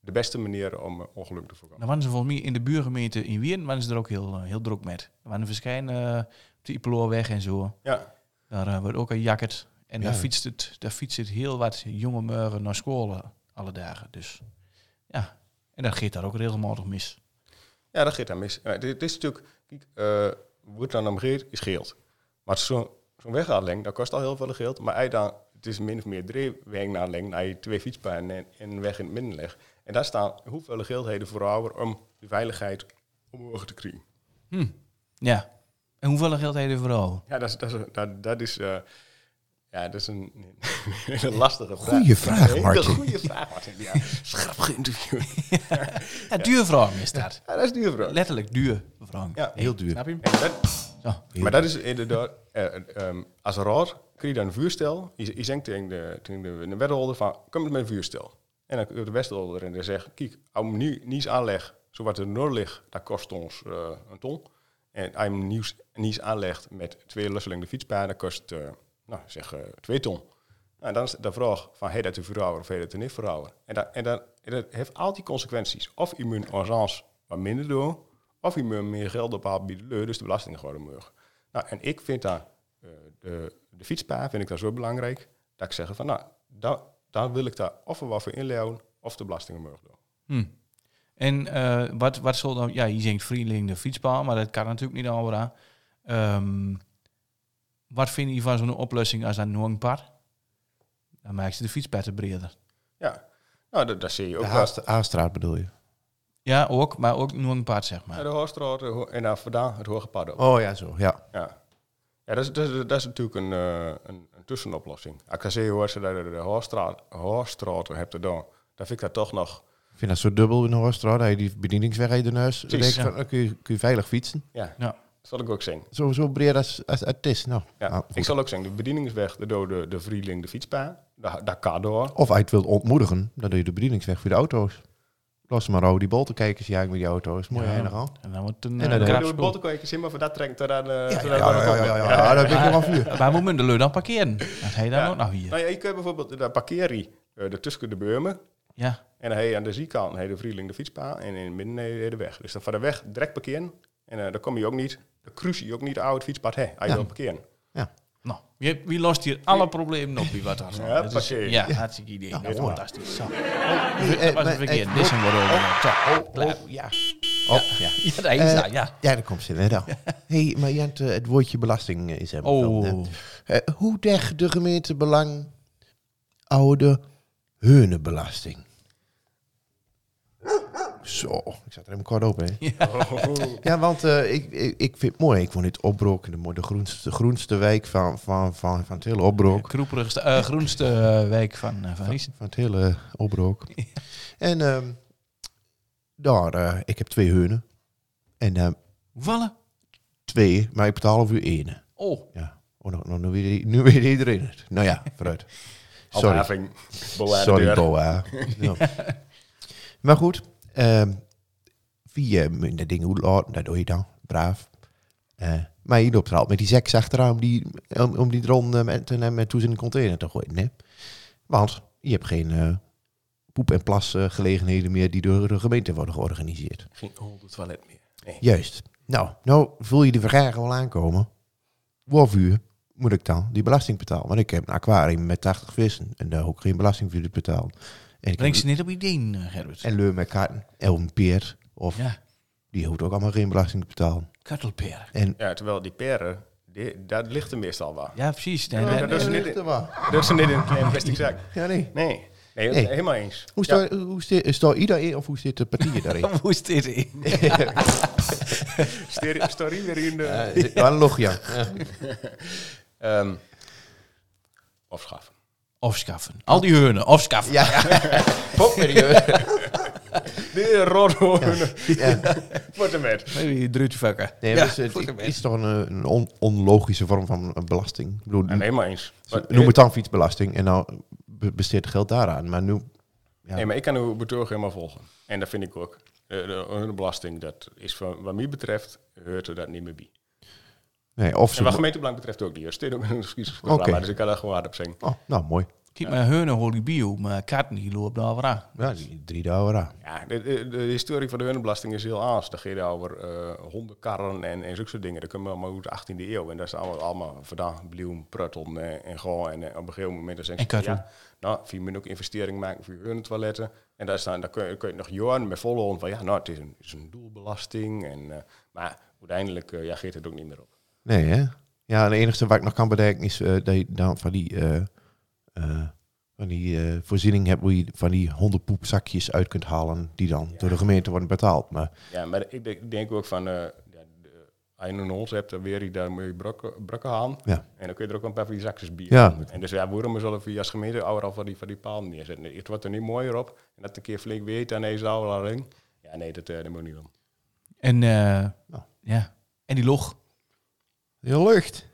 S6: de beste manier om eh, ongeluk te voorkomen.
S3: Dan waren ze volgens mij in de buurgemeente in Wien waren ze er ook heel, eh, heel druk met. Er waren verschijnen eh, op de Ipeloorweg en zo.
S6: Ja,
S3: Daar eh, wordt ook een jacket. En daar,
S4: Ja.
S3: fietst het, daar fietst het heel wat jonge meuren naar school eh, alle dagen. Dus ja, en dat gaat daar ook regelmatig mis.
S6: ja dat gaat dan mis. Eh, dit, dit is natuurlijk, kijk, eh, wordt dan omgeerd, is geld. Maar zo'n zo'n wegaanleg, dat kost al heel veel geld. Maar hij dan, het is min of meer drie wegen naar lengte, naar je twee fietspaden en, en een weg in het midden legt. En daar staan hoeveel geldheden voor over om de veiligheid omhoog te krijgen.
S3: Ja. En hoeveel geld heb je vooral?
S6: Ja, dat is, dat is, dat, dat is, eh, ja, dat is een, [laughs] een lastige vraag.
S4: Goeie vraag,
S6: Een hele
S4: Martin.
S6: goede vraag, Martin.
S4: [laughs]
S6: Ja, schrap geïnterviewd.
S3: Ja, duur vrouw is dat.
S6: Ja, dat is duur, bro.
S3: Letterlijk duur vrouw.
S6: Ja,
S4: Heel duur.
S3: Snap je?
S6: En dat,
S3: Zo.
S6: maar dat is inderdaad, eh, ehm, als een raad krijg je dan een vuurstel. Je, je zegt tegen de, tegen de, de wethouder van, kom met mijn vuurstel. En dan komt de wethouder en die zegt, kijk, als je hem nu niets aanlegt, zoals het noord ligt, dat kost ons eh, een ton. En als je hem nieuws, niets aanlegt met twee lusselende fietspaden, dat kost, eh, nou, zeg, eh, twee ton. Nou, dan is de vraag van, hey, dat te verhouden of hey, dat te niet verhouden. En dat, en, dat, en dat heeft al die consequenties. Of je moet orans wat minder doen, of je moet meer geld ophalen bij de leur, dus de belastingen worden omhoog. Nou, en ik vind dat, eh, de, de fietspaar vind ik dat zo belangrijk, dat ik zeg van, nou, daar, daar wil ik daar of een wat voor inleeuwen, of de belastingen omhoog doen.
S3: Hm. En eh, wat, wat zal dan... Ja, je zingt vriendelijk de fietspaal, maar dat kan natuurlijk niet allemaal. Ehm wat vind je van zo'n oplossing als dat Noongpad? Dan maak je de fietspaden breder.
S6: Ja, nou, dat, dat zie je ook
S4: De
S6: wel.
S4: Haast- Aastraat bedoel je?
S3: Ja, ook, maar ook Noongpad, zeg
S6: Ja,
S3: maar.
S6: de Hoorstraat de Ho- en daar vandaan het Hoge Pad op.
S4: Oh ja, zo. Ja.
S6: Ja. Ja, dat is, dat, is, dat is natuurlijk een, eh, een, een tussenoplossing. Ik kan zeggen hoor, ze dat de, de Hoorstraat, Hoorstraat hebt gedaan. Dan vind ik dat toch nog...
S4: Ik vind dat zo dubbel in de Horstraat. Dat je die bedieningsweg uit de neus. Dan denk ik
S3: ja.
S4: van, dan kun, je, kun je veilig fietsen.
S6: Ja,
S3: Ja.
S6: dat zal ik ook zeggen.
S4: Zo, zo breed als, als het is. Nou,
S6: Ja.
S4: nou, goed.
S6: ik zal ook zeggen, de bedieningsweg, de dode, de vrieling, de fietspaan. Daar, daar kan door.
S4: Of hij het wilt ontmoedigen, dan doe je de bedieningsweg voor de auto's. Los maar over die boltenkijkers jagen met die auto's. Mooi
S3: Ja.
S4: heilig al.
S3: En dan wordt het een,
S4: En
S3: eh,
S4: dan-
S6: Ja,
S3: krap
S6: door de
S3: spul.
S6: bottenkoekjes in, maar voor dat trekt eh, daar de...
S4: ja, dat ben ik helemaal vuur.
S3: Waar moet men de leur dan parkeren? Dat hij dan ook nog hier.
S6: Nou ja, je kunt bijvoorbeeld, daar parkeer je eh, de tussen de beumen.
S3: Ja.
S6: En dan heb je aan de zijkant heb je de vrieling de fietspaan en in het midden heb je de weg. Dus dan van de weg direct parkeren. En eh dan kom je ook niet, dan cruise je ook niet oud het fietspad hè, als je
S4: Ja.
S6: wil parkeren.
S3: Nou, wie, wie lost hier alle problemen op? Wie wat dan?
S6: Ja,
S3: Dat is-
S6: parkeer.
S3: ja, hartstikke idee. Ja, fantastisch. Zo.
S4: eh,
S3: Dat was
S4: maar,
S3: een verkeerd.
S4: eh, oh,
S3: Dit is een woord. Zo.
S4: ja. Oh, ja.
S3: Ja, daar is dat,
S4: Eh,
S3: nou, ja.
S4: Ja, dat komt ze inderdaad. hey, maar Jent, eh, het woordje belasting eh, is helemaal
S3: Oh.
S4: veel, hè. Eh, hoe dekt de gemeente belang oude heunenbelasting? Zo, ik zat er helemaal kort op, hè? Ja, want eh, ik, ik, ik vind het mooi. Ik woon in het Opbroek, in de, mo- de groenste, groenste wijk van, van, van, van het hele Opbroek.
S3: Kroeperigste, eh, groenste eh, wijk van, eh van Riesen.
S4: Van het hele opbrook. En ehm, daar, eh, ik heb twee heunen. En ehm,
S3: Hoeveel?
S4: twee, maar ik betaal over één.
S3: Oh,
S4: Ja. Oh, nou, nou, nu, weer, nu weer iedereen het. Nou ja, vooruit. Sorry,
S6: Handhaving.
S4: sorry Boa. Ja. Maar goed, ehm via minder dingen hoe laat, dat doe je dan, braaf. Eh, maar je loopt er altijd met die seks achteraan om die, om, om die dron eh, met, eh, met toes in de container te gooien. Hè? Want je hebt geen eh, poep- en plasgelegenheden meer die door de gemeente worden georganiseerd.
S6: Geen hol toilet meer.
S4: Juist. Nou, nou voel je de vraag wel aankomen. Wolf uur moet ik dan die belasting betalen? Want ik heb een aquarium met 80 vissen en daar hoef ik geen belasting voor te betalen. En, ik
S3: breng
S4: heb-
S3: ze niet op ideeën, eh, Gerbert.
S4: en leur met kaarten, Elm Peer, of
S3: Ja,
S4: die hoeft ook allemaal geen belasting te betalen.
S3: kartelperen.
S4: En
S6: Ja, terwijl die peren, die, dat ligt er meestal wel.
S3: Ja, precies. Nee, nee,
S6: dat
S3: nee.
S6: is niet-
S4: Ligt er wel.
S6: Dat is niet in een [laughs] klein plastic zak.
S4: Ja, nee.
S6: Nee. Nee,
S4: Nee.
S6: helemaal eens.
S4: Hoe staat hoe sta, sta iedereen of hoe zit de partij
S6: [laughs]
S4: daarin? [laughs]
S3: Hoe is dit in?
S6: Stereo- Story weer in de...
S4: Waar een logja.
S6: Ehm, afschaffen.
S3: [laughs] Afschaffen. Al die heunen, afschaffen. Ja.
S6: De rothoorn.
S4: Ja.
S6: Wat een met.
S3: Die druutje fucken.
S4: Nee,
S3: ja,
S4: dus het
S3: goed gemerkt.
S4: is toch een, eh, een on- onlogische vorm van eh, belasting. Ik bedoel,
S6: En helemaal eens. Maar,
S4: Noem het dan fietsbelasting en nou be- besteed geld daaraan. Maar nu, ja.
S6: Nee, maar ik kan uw betoog helemaal volgen. En dat vind ik ook. Eh, De, hun belasting, dat is van, wat mij betreft, hoort er dat niet meer bij.
S4: nee, of
S6: En
S4: ze...
S6: wat gemeentebelang betreft ook niet. Er staat ook een excuus.
S4: Oké.
S6: Dus ik kan daar gewoon hard op zeggen.
S4: Oh, nou, mooi.
S3: Kijk maar Heune hoor bio, maar Karten die loopt daar weer aan.
S4: Ja, die drie dagen aan.
S6: Ja, de, de, de historie van de hunenbelasting is heel aans. Dan gaat het over eh, hondenkarren en, en zulke dingen. Dat kunnen we allemaal uit de 18e eeuw. En daar staan we allemaal vandaan, bloem, pruttel en, en gewoon. En eh, op een gegeven moment dan zeggen ze,
S3: En
S6: ja, nou, je moet ook investeringen maken voor hun toiletten. En daar staan, daar kun je, kun je nog jaren met volle hond van, ja, nou, het is een, het is een doelbelasting. En, eh, maar uiteindelijk eh ja, geeft het ook niet meer op.
S4: Nee, hè? Ja, de enige wat ik nog kan bedenken is eh, dat je dan van die, eh, eh, van die eh, voorziening hebt hoe je van die hondenpoepzakjes uit kunt halen, die dan door de gemeente worden betaald. Maar
S6: Ja, maar ik denk, ik denk ook van, eh ja, de- als je een hond hebt, dan weer je daar moet je brokken, brokken aan.
S4: Ja.
S6: En dan kun je er ook een paar van die zakjes bier.
S4: Ja.
S6: En dus ja, waarom zullen we als gemeente overal van die, van die paal neerzetten? Het wordt er niet mooier op. En dat het een keer flink weet en deze oude al in. Ja, nee, dat, eh, dat moet niet om.
S3: En, eh,
S4: Nou.
S3: ja. en die log.
S4: heel lucht.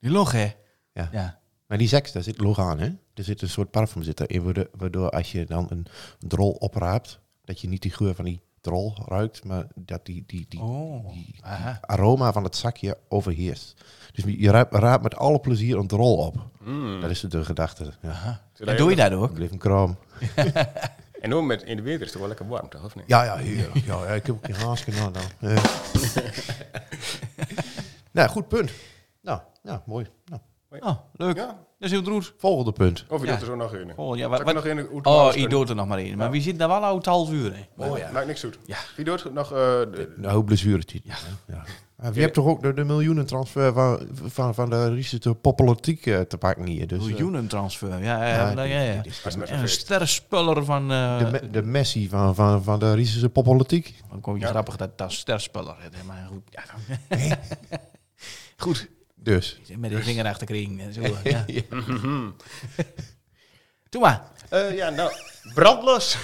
S3: Die log, hè?
S4: Ja.
S3: ja.
S4: Maar die seks, daar zit log aan, hè? Er zit een soort parfum zit erin, waardoor- waardoor als je dan een drol opraapt, dat je niet die geur van die drol ruikt, maar dat die, die, die,
S3: Oh,
S4: die
S3: aha.
S4: aroma van het zakje overheerst. Dus je raapt, raapt met alle plezier een drol op. Dat is de gedachte. Ja.
S3: En doe je dat ook?
S4: Ik bleef hem krom.
S6: En ook met, in de winter is het toch wel lekker warm, toch? Of niet?
S4: Ja, ja,
S3: [laughs]
S4: heerlijk. Ja, ja, ik heb ook geen haast gedaan dan. Ja. nou, goed punt. Nou, ja, mooi. Nou,
S3: Oh, leuk.
S6: Ja.
S3: Dat is heel droes.
S4: volgende punt.
S6: Of je
S3: Ja.
S6: doet er zo nog in.
S3: Oh, ja,
S6: Zal
S3: wat,
S6: ik
S3: wat-
S6: nog in hoe het
S3: oh
S6: was?
S3: je doet er nog maar in. Maar wie zit daar wel oud half uur, hè?
S4: Dus,
S6: Oh, ja. Maakt niks uit. Wie doet het nog? eh, de-
S4: Nou, blessure Ja. ja. Maar je hebt toch ook de, de miljoenentransfer van, van, van de Riese populatiek eh, te pakken hier. Dus, eh,
S3: Miljoenentransfer. Ja, eh,
S4: ja,
S3: ja,
S4: dit-
S3: ja, ja.
S4: dit is
S6: was
S4: de,
S6: met
S3: En een
S6: een feest.
S3: sterrenspeller van... eh,
S4: de, me- de Messi van, van, van de Riese populatiek.
S3: dan kom je grappig dat dat sterrenspeller is. hè, Maar goed. Ja, goed.
S4: Dus.
S3: Met de vinger achter de kring. [laughs] En zo, ja. Doe maar.
S6: Eh, ja, nou, brandlos.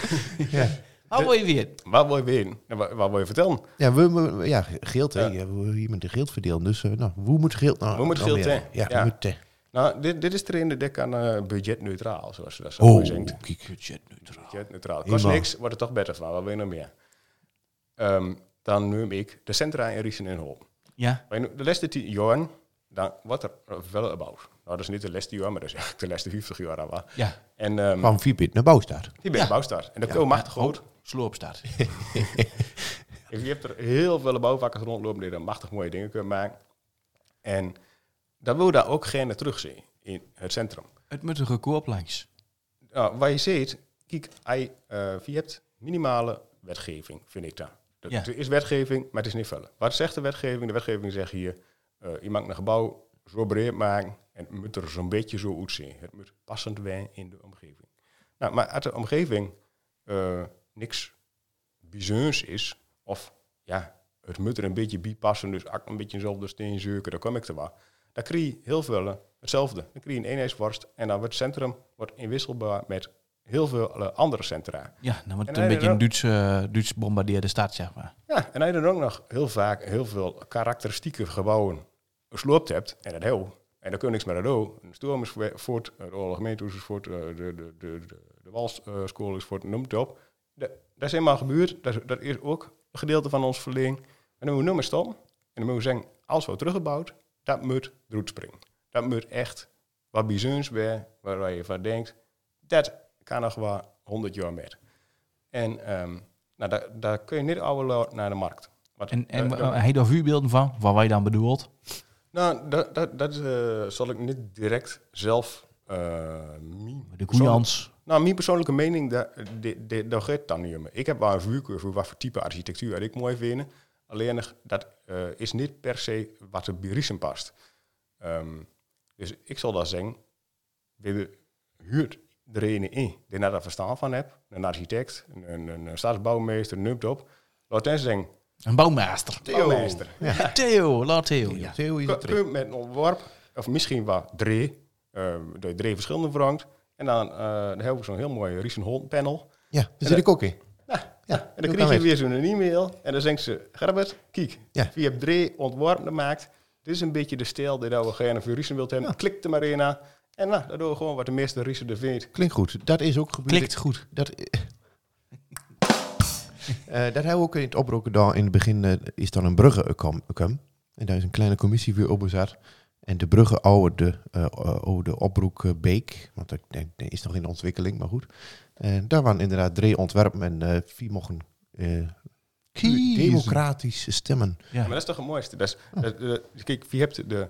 S4: Ja,
S3: Hou je weer.
S6: Waar wil je winnen? En Waar, waar wil je vertellen?
S4: ja, we, we- ja geld. hè. Ja, we- hier met de geld verdelen. Dus eh, nou, hoe moet geld nou?
S6: Hoe moet
S4: dan
S6: geld,
S4: weer?
S6: hè?
S4: Ja, hoe
S6: Ja.
S4: moet, eh,
S6: Nou, dit, dit is er in de dek aan eh, budgetneutraal, zoals ze dat zo mooi
S4: Oh,
S6: zingt.
S4: kijk.
S6: Budgetneutraal. Kost
S4: Helemaal.
S6: niks, wordt er toch beter van. Wat wil je nog meer? Ehm, dan noem ik de centra in Riesen en Holm.
S3: Ja.
S6: Wij noemen- De laatste tien jaar, dan wordt er wel gebouwd. Nou, dat is niet de laatste jaar, maar dat is eigenlijk de laatste 50 jaar. al wel.
S3: Ja.
S6: En ehm,
S4: Van Vipit naar Bouwstaat.
S6: die ben je bouwstart. En dat komt machtig goed.
S3: Sloopstart.
S6: Je hebt er heel veel bouwvakkers rondlopen die er machtig mooie dingen kunnen maken. En dan wil je daar ook geen terugzien in het centrum.
S3: [laughs] Het moet een gekoop langs.
S6: Nou, waar je ziet, kijk, hij, eh, je hebt minimale wetgeving, vind ik daar. Er
S3: Ja.
S6: er is wetgeving, maar het is niet vullen. Wat zegt de wetgeving? De wetgeving zegt hier, eh, je mag een gebouw zo breed maken en het moet er zo'n beetje zo uitzien. Het moet passend zijn in de omgeving. Nou, maar uit de omgeving eh, niks bijzonders is, of ja, het moet er een beetje bij passen, dus ak een beetje dezelfde steen zeuken, daar kom ik te waar. Dan krijg je heel veel eh, hetzelfde. Dan krijg je een eenheidsworst en dan wordt het centrum wordt inwisselbaar met heel veel eh, andere centra.
S3: Ja, dan wordt het
S6: En
S3: een
S6: hij
S3: beetje
S6: er
S3: een
S6: ook.
S3: Duits, eh, Duits bombardeerde stad, zeg maar.
S6: Ja, en als je dan ook nog heel vaak heel veel karakteristieke gebouwen gesloopt hebt, en dat heel, en dan kun je niks meer aan doen. De storm is voor- voort, de oorlog gemeente is voort, eh, de, de, de, de, de walsschool is voort, noem het op. Da- Dat is eenmaal gebeurd, dat, is- dat is ook een gedeelte van ons verleden. En dan moeten we nummer stom, en dan moeten we zeggen, als we het teruggebouwd, dat moet eruit springen. Dat moet echt wat bijzonders weer, waar je van denkt, dat kan nog wel 100 jaar met. En ehm, nou, daar, daar kun je niet oude naar de markt. Want,
S3: En, en
S6: eh,
S3: eh, hij daar vuurbeelden van, wat wij dan bedoelt.
S6: nou, dat, dat, dat eh, zal ik niet direct zelf... eh, mie-
S3: De Koeians.
S6: nou, mijn persoonlijke mening, daar de- de- daar gaat het dan niet om. Ik heb wel een vuurkeur voor wat voor type architectuur ik mooi vind. Alleen dat eh, is niet per se wat er bij Riesen past. Ehm, dus ik zal dat zeggen. We huurt er een in die daar verstaan van hebt. Een architect, een, een, een stadsbouwmeester, noemt op. Laat hen zeggen,
S3: Een bouwmeester.
S6: bouwmeester.
S3: Ja, Theo, laat Theo. Ja.
S4: Theo is
S6: Kun
S4: het
S6: kun je met een ontwerp, of misschien wat drie, eh, dat je drie verschillende verhangt. En dan, eh, dan hebben we zo'n heel mooi Nou, Riesen panel.
S4: Ja, daar zit ik ook in.
S6: Ja,
S4: Ja,
S6: en
S4: doe
S6: dan
S4: maar
S6: kreeg je
S4: weg.
S6: weer zo'n e-mail. En dan zegt ze, Gerbert, kijk,
S4: Ja.
S6: je hebt drie ontworpen gemaakt. Dit is een beetje de stijl die we gerne voor Riesen wilt hebben. Klik er maar in aan. En nou, dat doen we gewoon wat de meeste Riesen er vindt.
S4: Klinkt goed. Dat is ook gebeurd.
S3: Klikt goed.
S4: Dat, [laughs] Eh, dat hebben we ook in het oproken daar. In het begin eh, is dan een brugge gekomen. En daar is een kleine commissie weer op bezet. En de bruggen over de, eh, eh, over de Opbroekbeek, want dat, dat is nog in ontwikkeling, maar goed. En daar waren inderdaad drie ontwerpen en eh, vier mochten eh,
S2: Kiezen.
S4: democratisch stemmen.
S3: Ja.
S6: Maar dat is toch het mooiste? Dat is, dat- dat- kijk, je hebt de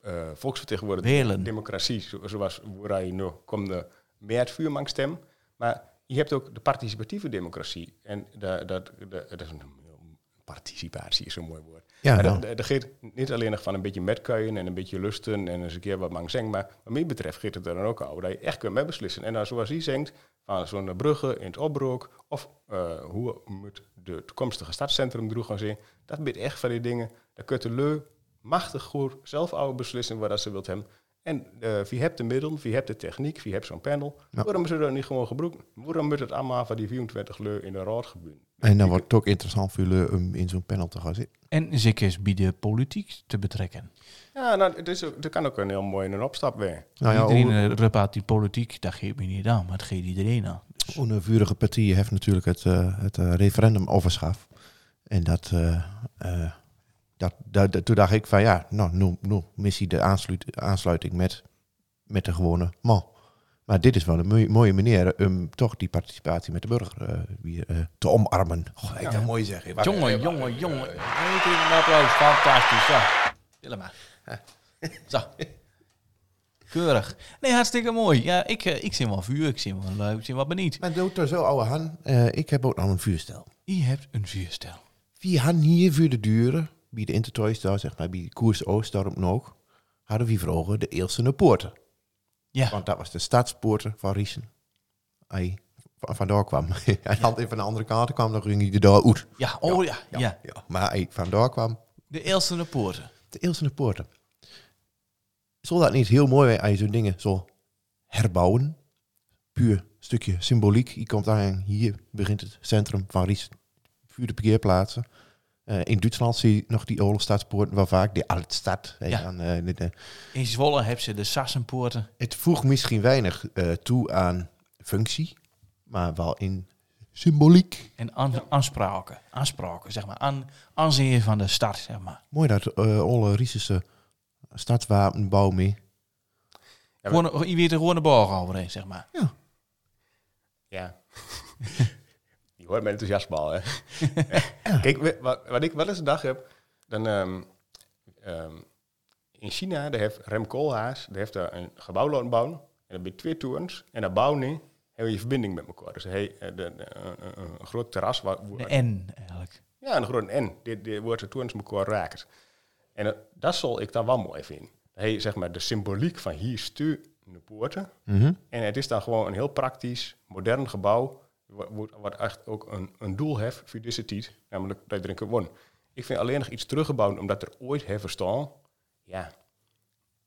S6: eh volksvertegenwoordiging,
S3: Welen.
S6: democratie, zo- zoals waar je nu komt, de meertvuurmangstem. Maar je hebt ook de participatieve democratie. En dat, dat, dat, dat is een participatie is een mooi woord.
S4: Ja,
S6: maar
S4: nou.
S6: dat, dat, dat Eh, geeft niet alleen nog van een beetje metkuien en een beetje lusten en eens een keer wat mang zeng, maar wat mij betreft geeft het er dan ook over dat je echt kunt meebeslissen. En dan zoals hij zingt, van zo'n brugge in het opbrook, of eh, hoe moet de toekomstige stadscentrum droeg gaan zien, dat biedt echt van die dingen. Daar kunt de leu machtig goed zelf over beslissen wat dat ze wilt hebben. En eh, wie hebt de middelen, wie hebt de techniek, wie hebt zo'n panel,
S4: Ja.
S6: waarom ze dat niet gewoon gebruiken? Waarom moet het allemaal van die 24 leu in de raad gebeuren?
S4: En dan wordt het ook interessant voor jullie om in zo'n panel te gaan zitten.
S3: En zeker bieden politiek te betrekken.
S6: Ja, nou, het is, ook- dat kan ook een heel mooi in een opstap weer.
S4: Nou ja,
S3: iedereen
S4: hoe-
S3: eh, repaart die politiek, dat geeft me niet aan, maar het geeft iedereen aan.
S4: Een vurige partij heeft natuurlijk het, eh, het eh, referendum overschaf. En dat, eh, eh, dat, dat, dat- toen dacht ik van ja, nou, nu, nu mis hij de aansluit, aansluiting met, met de gewone man. Maar dit is wel een moe- mooie manier om toch die participatie met de burger eh, weer eh, te omarmen. Goh, ik dat mooi zeggen. Wacht
S3: Jongen,
S4: even.
S3: jongen, jongen. Eén keer een applaus, fantastisch. Zo, Willem maar. Zo. Keurig. Nee, hartstikke mooi. Ja, ik, eh, ik zit wel vuur, ik zit wel leuk, ik zit wel benieuwd.
S4: Maar doet er zo, oude Han. eh, ik heb ook nog een vuurstel.
S3: Je hebt een vuurstel.
S4: Wie Han hier voor de duren, bij de Intertoys daar, zeg maar, bij de Koers Oostdorp nog, hadden we vroeger de Eelsene Poorten.
S3: Ja,
S4: Want dat was de stadspoorten van Riesen. Hij va- vandoor kwam. [laughs] Hij had even van de andere kant kwam, dan ging hij de deur uit.
S3: ja, oh ja, ja.
S4: Ja, maar hij vandoor kwam,
S3: De Elstene Poorten.
S4: de Eelsene poorten. Zou dat niet heel mooi zijn als je zo'n dingen zo herbouwen? Puur stukje symboliek. Je komt aan, hier begint het centrum van Ries. Puur de parkeerplaatsen. Eh, in Duitsland zie je nog die Olenstadspoorten wel vaak. Die Altstad. hè,
S3: Ja.
S4: dan, eh, dit, eh.
S3: In Zwolle hebben ze de Sassenpoorten.
S4: Het voegt misschien weinig eh, toe aan functie, maar wel in symboliek.
S3: En aan, aanspraken, aanspraken, zeg maar. Aan, aanzien van de stad, zeg maar.
S4: Mooi dat eh alle Riesische stadswapenbouw mee.
S6: maar-
S3: Gewoon, je weet er gewoon de borg overheen, zeg maar.
S6: Ja. [laughs] je hoort mijn enthousiasme al, hè? Kijk, we- wat, wat ik wel eens een dag heb, dan... ehm, ehm, in China, daar heeft Rem Koolhaas daar heeft daar een gebouw laten bouwen. En dan ben je twee torens. En dat bouwen niet, heb je verbinding met elkaar. Dus hey, eh, de- de- een- een- een groot terras... Waar, waar-
S3: De N, eigenlijk.
S6: ja, een groot N. Dit, dit wordt de torens met elkaar raakt. En dat, dat zal ik dan wel mooi vinden. Hey, zeg maar, de symboliek van hier stuur de poorten... En het is dan gewoon een heel praktisch, modern gebouw. wa- wo- Wat echt ook een, een doel heeft voor deze tijd. Namelijk dat je erin kunt wonen. Ik vind alleen nog iets teruggebouwd omdat er ooit heeft staan. Ja.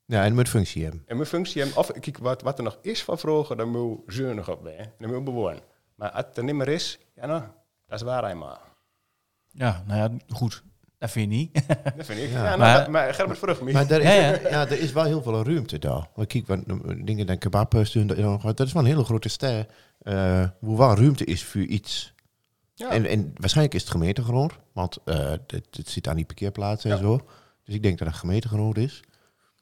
S4: Ja, en moet functie hebben.
S6: En mijn functie hem, of kijk, wat, wat er nog is van vroeger, dan moet je zuinig op zijn. Dan moet je bewonen. Maar als het er niet meer is, ja nou, dat is waar helemaal.
S3: Ja, nou ja, goed. Dat vind je niet. [laughs]
S6: Dat vind ik. Ja, nou,
S3: Maar-
S6: dat- maar Gerbert Vrucht, niet.
S4: Maar daar is,
S3: Ja,
S4: ja,
S3: ja.
S4: er is wel heel veel ruimte daar. Want kijk, want, eh, dingen dan kebab sturen, dat is wel een hele grote ster. eh, hoe wel ruimte is voor iets.
S6: Ja.
S4: En, en waarschijnlijk is het gemeentegrond, want eh, het, het zit aan die parkeerplaatsen en zo. Dus ik denk dat het gemeentegrond is.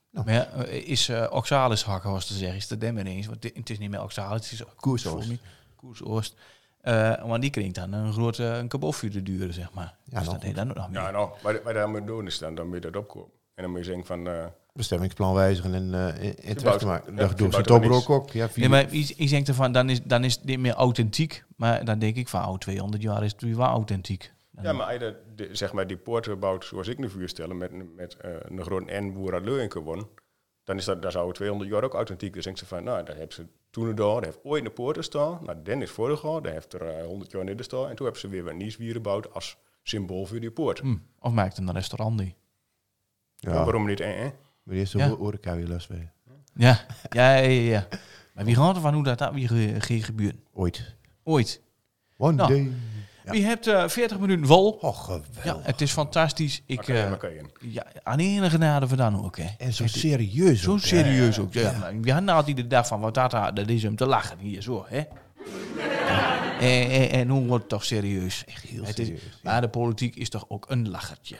S3: Maar ja, eh, is eh, Oxalis hakken, was te zeggen, is dat dan maar eens. Want di- het is niet meer Oxalis, het is
S4: Koersoost.
S3: Sorry, Koersoost. Eh want die kringt dan een grote een kabofje te duren, zeg maar. Ja, dus
S4: nou
S3: dat deed dan ook nog meer.
S6: Ja, nou, maar, maar dan moet je doen is dan, dan moet je dat opkomen. En dan moet je zeggen van, eh,
S4: bestemmingsplan wijzigen en, eh en- en terecht
S6: bouwt-
S4: te maken.
S6: ja,
S4: Dat
S6: je
S4: doen ze
S6: bouwt er niks.
S4: Tobrok ook. Ja, vier-
S3: Nee, maar ik, ik denk ervan, dan is, dan is dit meer authentiek. Maar dan denk ik van, oh, 200 jaar is het weer wel authentiek. Dan-
S6: Ja, maar als je dat- de- zeg maar die poorten bouwt zoals ik nu vuurstellen, met, een- met eh, een groot N boer uit Leuenke won, dan is dat, daar zou het 200 jaar ook authentiek. Dus denk ze van, nou, daar hebben ze toen en daar, daar heeft ooit een poorten staan, nou, den is voorgegaan, daar heeft er eh, 100 jaar in staan, en toen hebben ze weer wat nieuws wieren gebouwd als symbool voor die poort.
S3: Hm, Of maakt hem een restaurant die.
S4: ja.
S6: Waarom niet, eh, eh?
S4: Maar eerst de
S3: Ja.
S4: ja. orenkui je last mee.
S3: Ja, ja, ja, ja, ja. Maar wie gaat ervan hoe dat, dat weer ge- ge- gebeurt?
S4: Ooit.
S3: Ooit.
S4: One
S3: Nou.
S4: day.
S3: Wie hebt eh 40 minuten vol?
S4: Oh, geweldig.
S3: Ja, het is fantastisch. Ik,
S6: Oké,
S3: eh,
S6: maar kan je in.
S3: Ja, aan de ene genade van dan ook, hè.
S4: En zo serieus
S3: Zo
S4: ook, hè.
S3: serieus ook. Ja. Nou, We hadden altijd de dag van, wat dat, dat is hem te lachen hier, zo, hè. En, en, en hoe wordt het toch serieus? Echt heel
S4: serieus,
S3: Maar de politiek is toch ook een lachertje.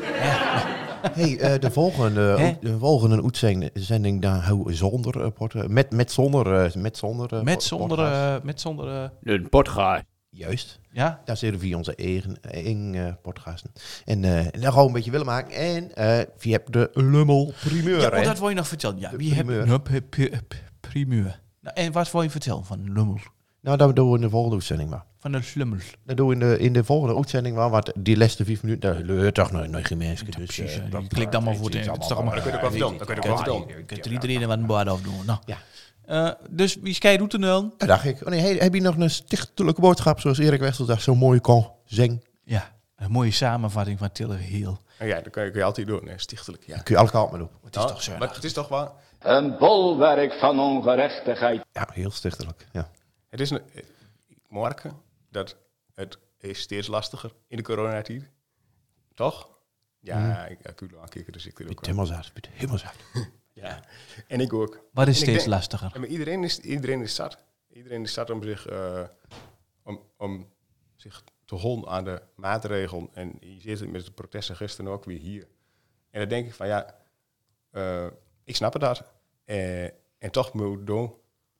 S3: Hè? Nou,
S4: hey, eh, de volgende,
S3: [laughs] Hè?
S4: de volgende uitzending zending daar houden we zonder eh, porte- met, met zonder eh, met zonder eh,
S3: Met
S4: pod-
S3: zonder...
S4: podcast.
S3: eh, met zonder eh,
S5: Den podcast.
S4: Juist.
S3: ja?
S4: Daar zitten we via onze eigen, eigen eh, podcasten. En eh daar gaan we een beetje willen maken. En eh via de Lummel primeur.
S3: ja
S4: hè?
S3: oh, dat wil je nog vertellen. Ja,
S4: De
S3: wie heb
S4: primeur.
S3: Hup, hup, hup, primeur. Nou, en wat wil je vertellen van Lummel?
S4: Nou, dat doen we in de volgende uitzending maar.
S3: Van de Lummel.
S4: Dat doen we in de, in de volgende uitzending maar. Want die laatste vijf minuten, daar leurt toch nooit nog geen mensen. Dus,
S3: Precies,
S4: eh,
S3: eh,
S4: dat-
S3: die klikt dan maar voor de-
S4: is
S3: het is toch
S4: allemaal-
S3: allemaal-
S6: Dan kun je ook wat doen. Dan kun je ook wat doen.
S3: Je kunt er iedereen wat een baard af doen. Nou.
S4: Ja.
S3: Eh, dus wie skij doet er dan?
S4: Dat dacht ik. Oh nee, hey, heb je nog een stichtelijke boodschap zoals Erik Westel daar zo mooi kon zingen?
S3: Ja, een mooie samenvatting van Tiller Heel.
S6: Nou Ja, dat kun je, kun je altijd doen. hè, Stichtelijk, ja.
S4: Kun je alle kanten maar op.
S3: Het is toch zo.
S6: maar het is toch waar...
S8: Een bolwerk van ongerechtigheid.
S4: Ja, heel stichtelijk. Ja.
S6: Het is een, ik merk dat het is steeds lastiger in de coronatijd. Toch?
S3: Mhm.
S6: Ja, ik ik wil aankijken, dus ik er ook wel.
S4: Helemaal zaad. Piet. Helemaal zaad.
S6: Ja. En ik ook.
S3: Wat is
S6: En ik
S3: steeds
S6: denk-
S3: lastiger?
S6: Ja, maar iedereen is, iedereen is zat. Iedereen is zat om zich, eh, om, om zich te honden aan de maatregelen. En je ziet het met de protesten gisteren ook weer hier. En dan denk ik van ja, eh, ik snap het dat. Eh, en toch moet het doen.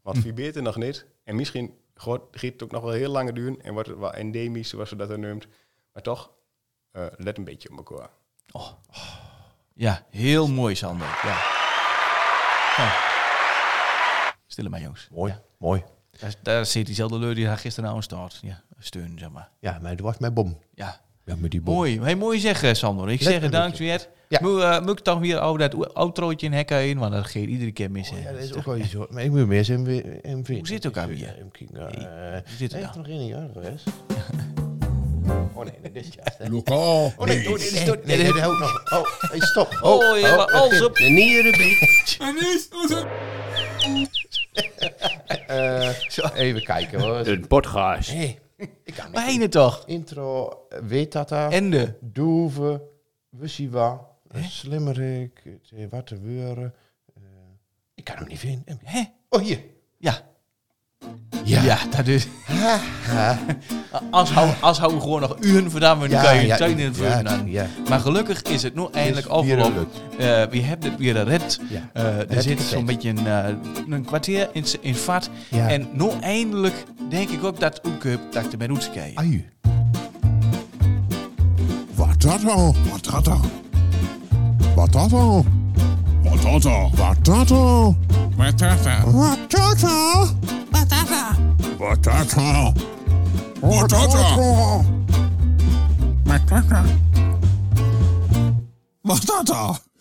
S6: Want wie weet het nog niet. En misschien gaat gaat het ook nog wel heel lang duren. En wordt het wel endemisch, zoals ze dat dan noemt. Maar toch, eh, let een beetje op elkaar.
S3: Ja, heel mooi, Sander. Ja. Ja. Stille maar, jongens.
S4: Mooi. Mooi.
S3: Daar, daar zit diezelfde leur die daar gisteren aan start. Ja, steun, zeg maar.
S4: Ja, maar dat was mijn bom.
S3: Ja,
S4: Ja, met die bom.
S3: mooi. Hey, mooi zeggen, Sander. Ik zeg
S4: een
S3: het dank weer.
S4: Ja.
S3: Moet, eh, moet ik toch weer oh, dat o- outrootje in hekken in? Want dat geeft iedere keer mis.
S4: Oh, Ja,
S3: hè.
S4: dat is ook wel iets hoor. Maar ik moet meer zijn en
S3: Hoe zit het ook aan
S4: eh,
S3: hier? Hoe zit het
S4: Echt
S3: aan?
S4: nog in een jaar geweest. [laughs] Oh nee, dat is ja.
S1: Lokaal.
S6: Oh nee, oh, dit is
S4: Nee, dat houdt nog. Oh, hey, stop.
S3: Oh, je hebt alles op.
S7: De
S4: [laughs]
S7: nierenbrief.
S4: Eh, even kijken hoor.
S5: Den podcast.
S4: Hey, ik kan niet.
S3: Mijne toch?
S4: Intro, eh, weet dat daar.
S3: Ende.
S4: Doeve, Wussiwa, eh, Slimmerik, eh, wat te weuren. eh, ik kan hem niet vinden.
S3: Hè?
S4: Oh, hier.
S3: Ja. Ja. dat is. [laughs] als, hou, als houden we gewoon nog uren verdamme, dan kan je ja, tuin in het vuur
S4: ja,
S3: hangen.
S4: ja.
S3: Maar gelukkig is het nu eindelijk
S4: weer
S3: afgelopen.
S4: gelukt.
S3: Eh we hebben het weer gered.
S4: Ja.
S3: Eh, er
S4: Het
S3: zit
S4: is
S3: zo'n
S4: het.
S3: beetje een, eh, een kwartier in, s- in vat.
S4: Ja.
S3: En nu eindelijk denk ik ook dat Oeke dat ik er bij moet kijken.
S4: Aju.
S1: Wat dat al? Wat dat al? Wat dat al?
S2: Patata.
S1: Wat dat al?
S2: Patata.
S1: Wat dat al? Wat dat al? Wat dat al?
S2: Patata. Patata.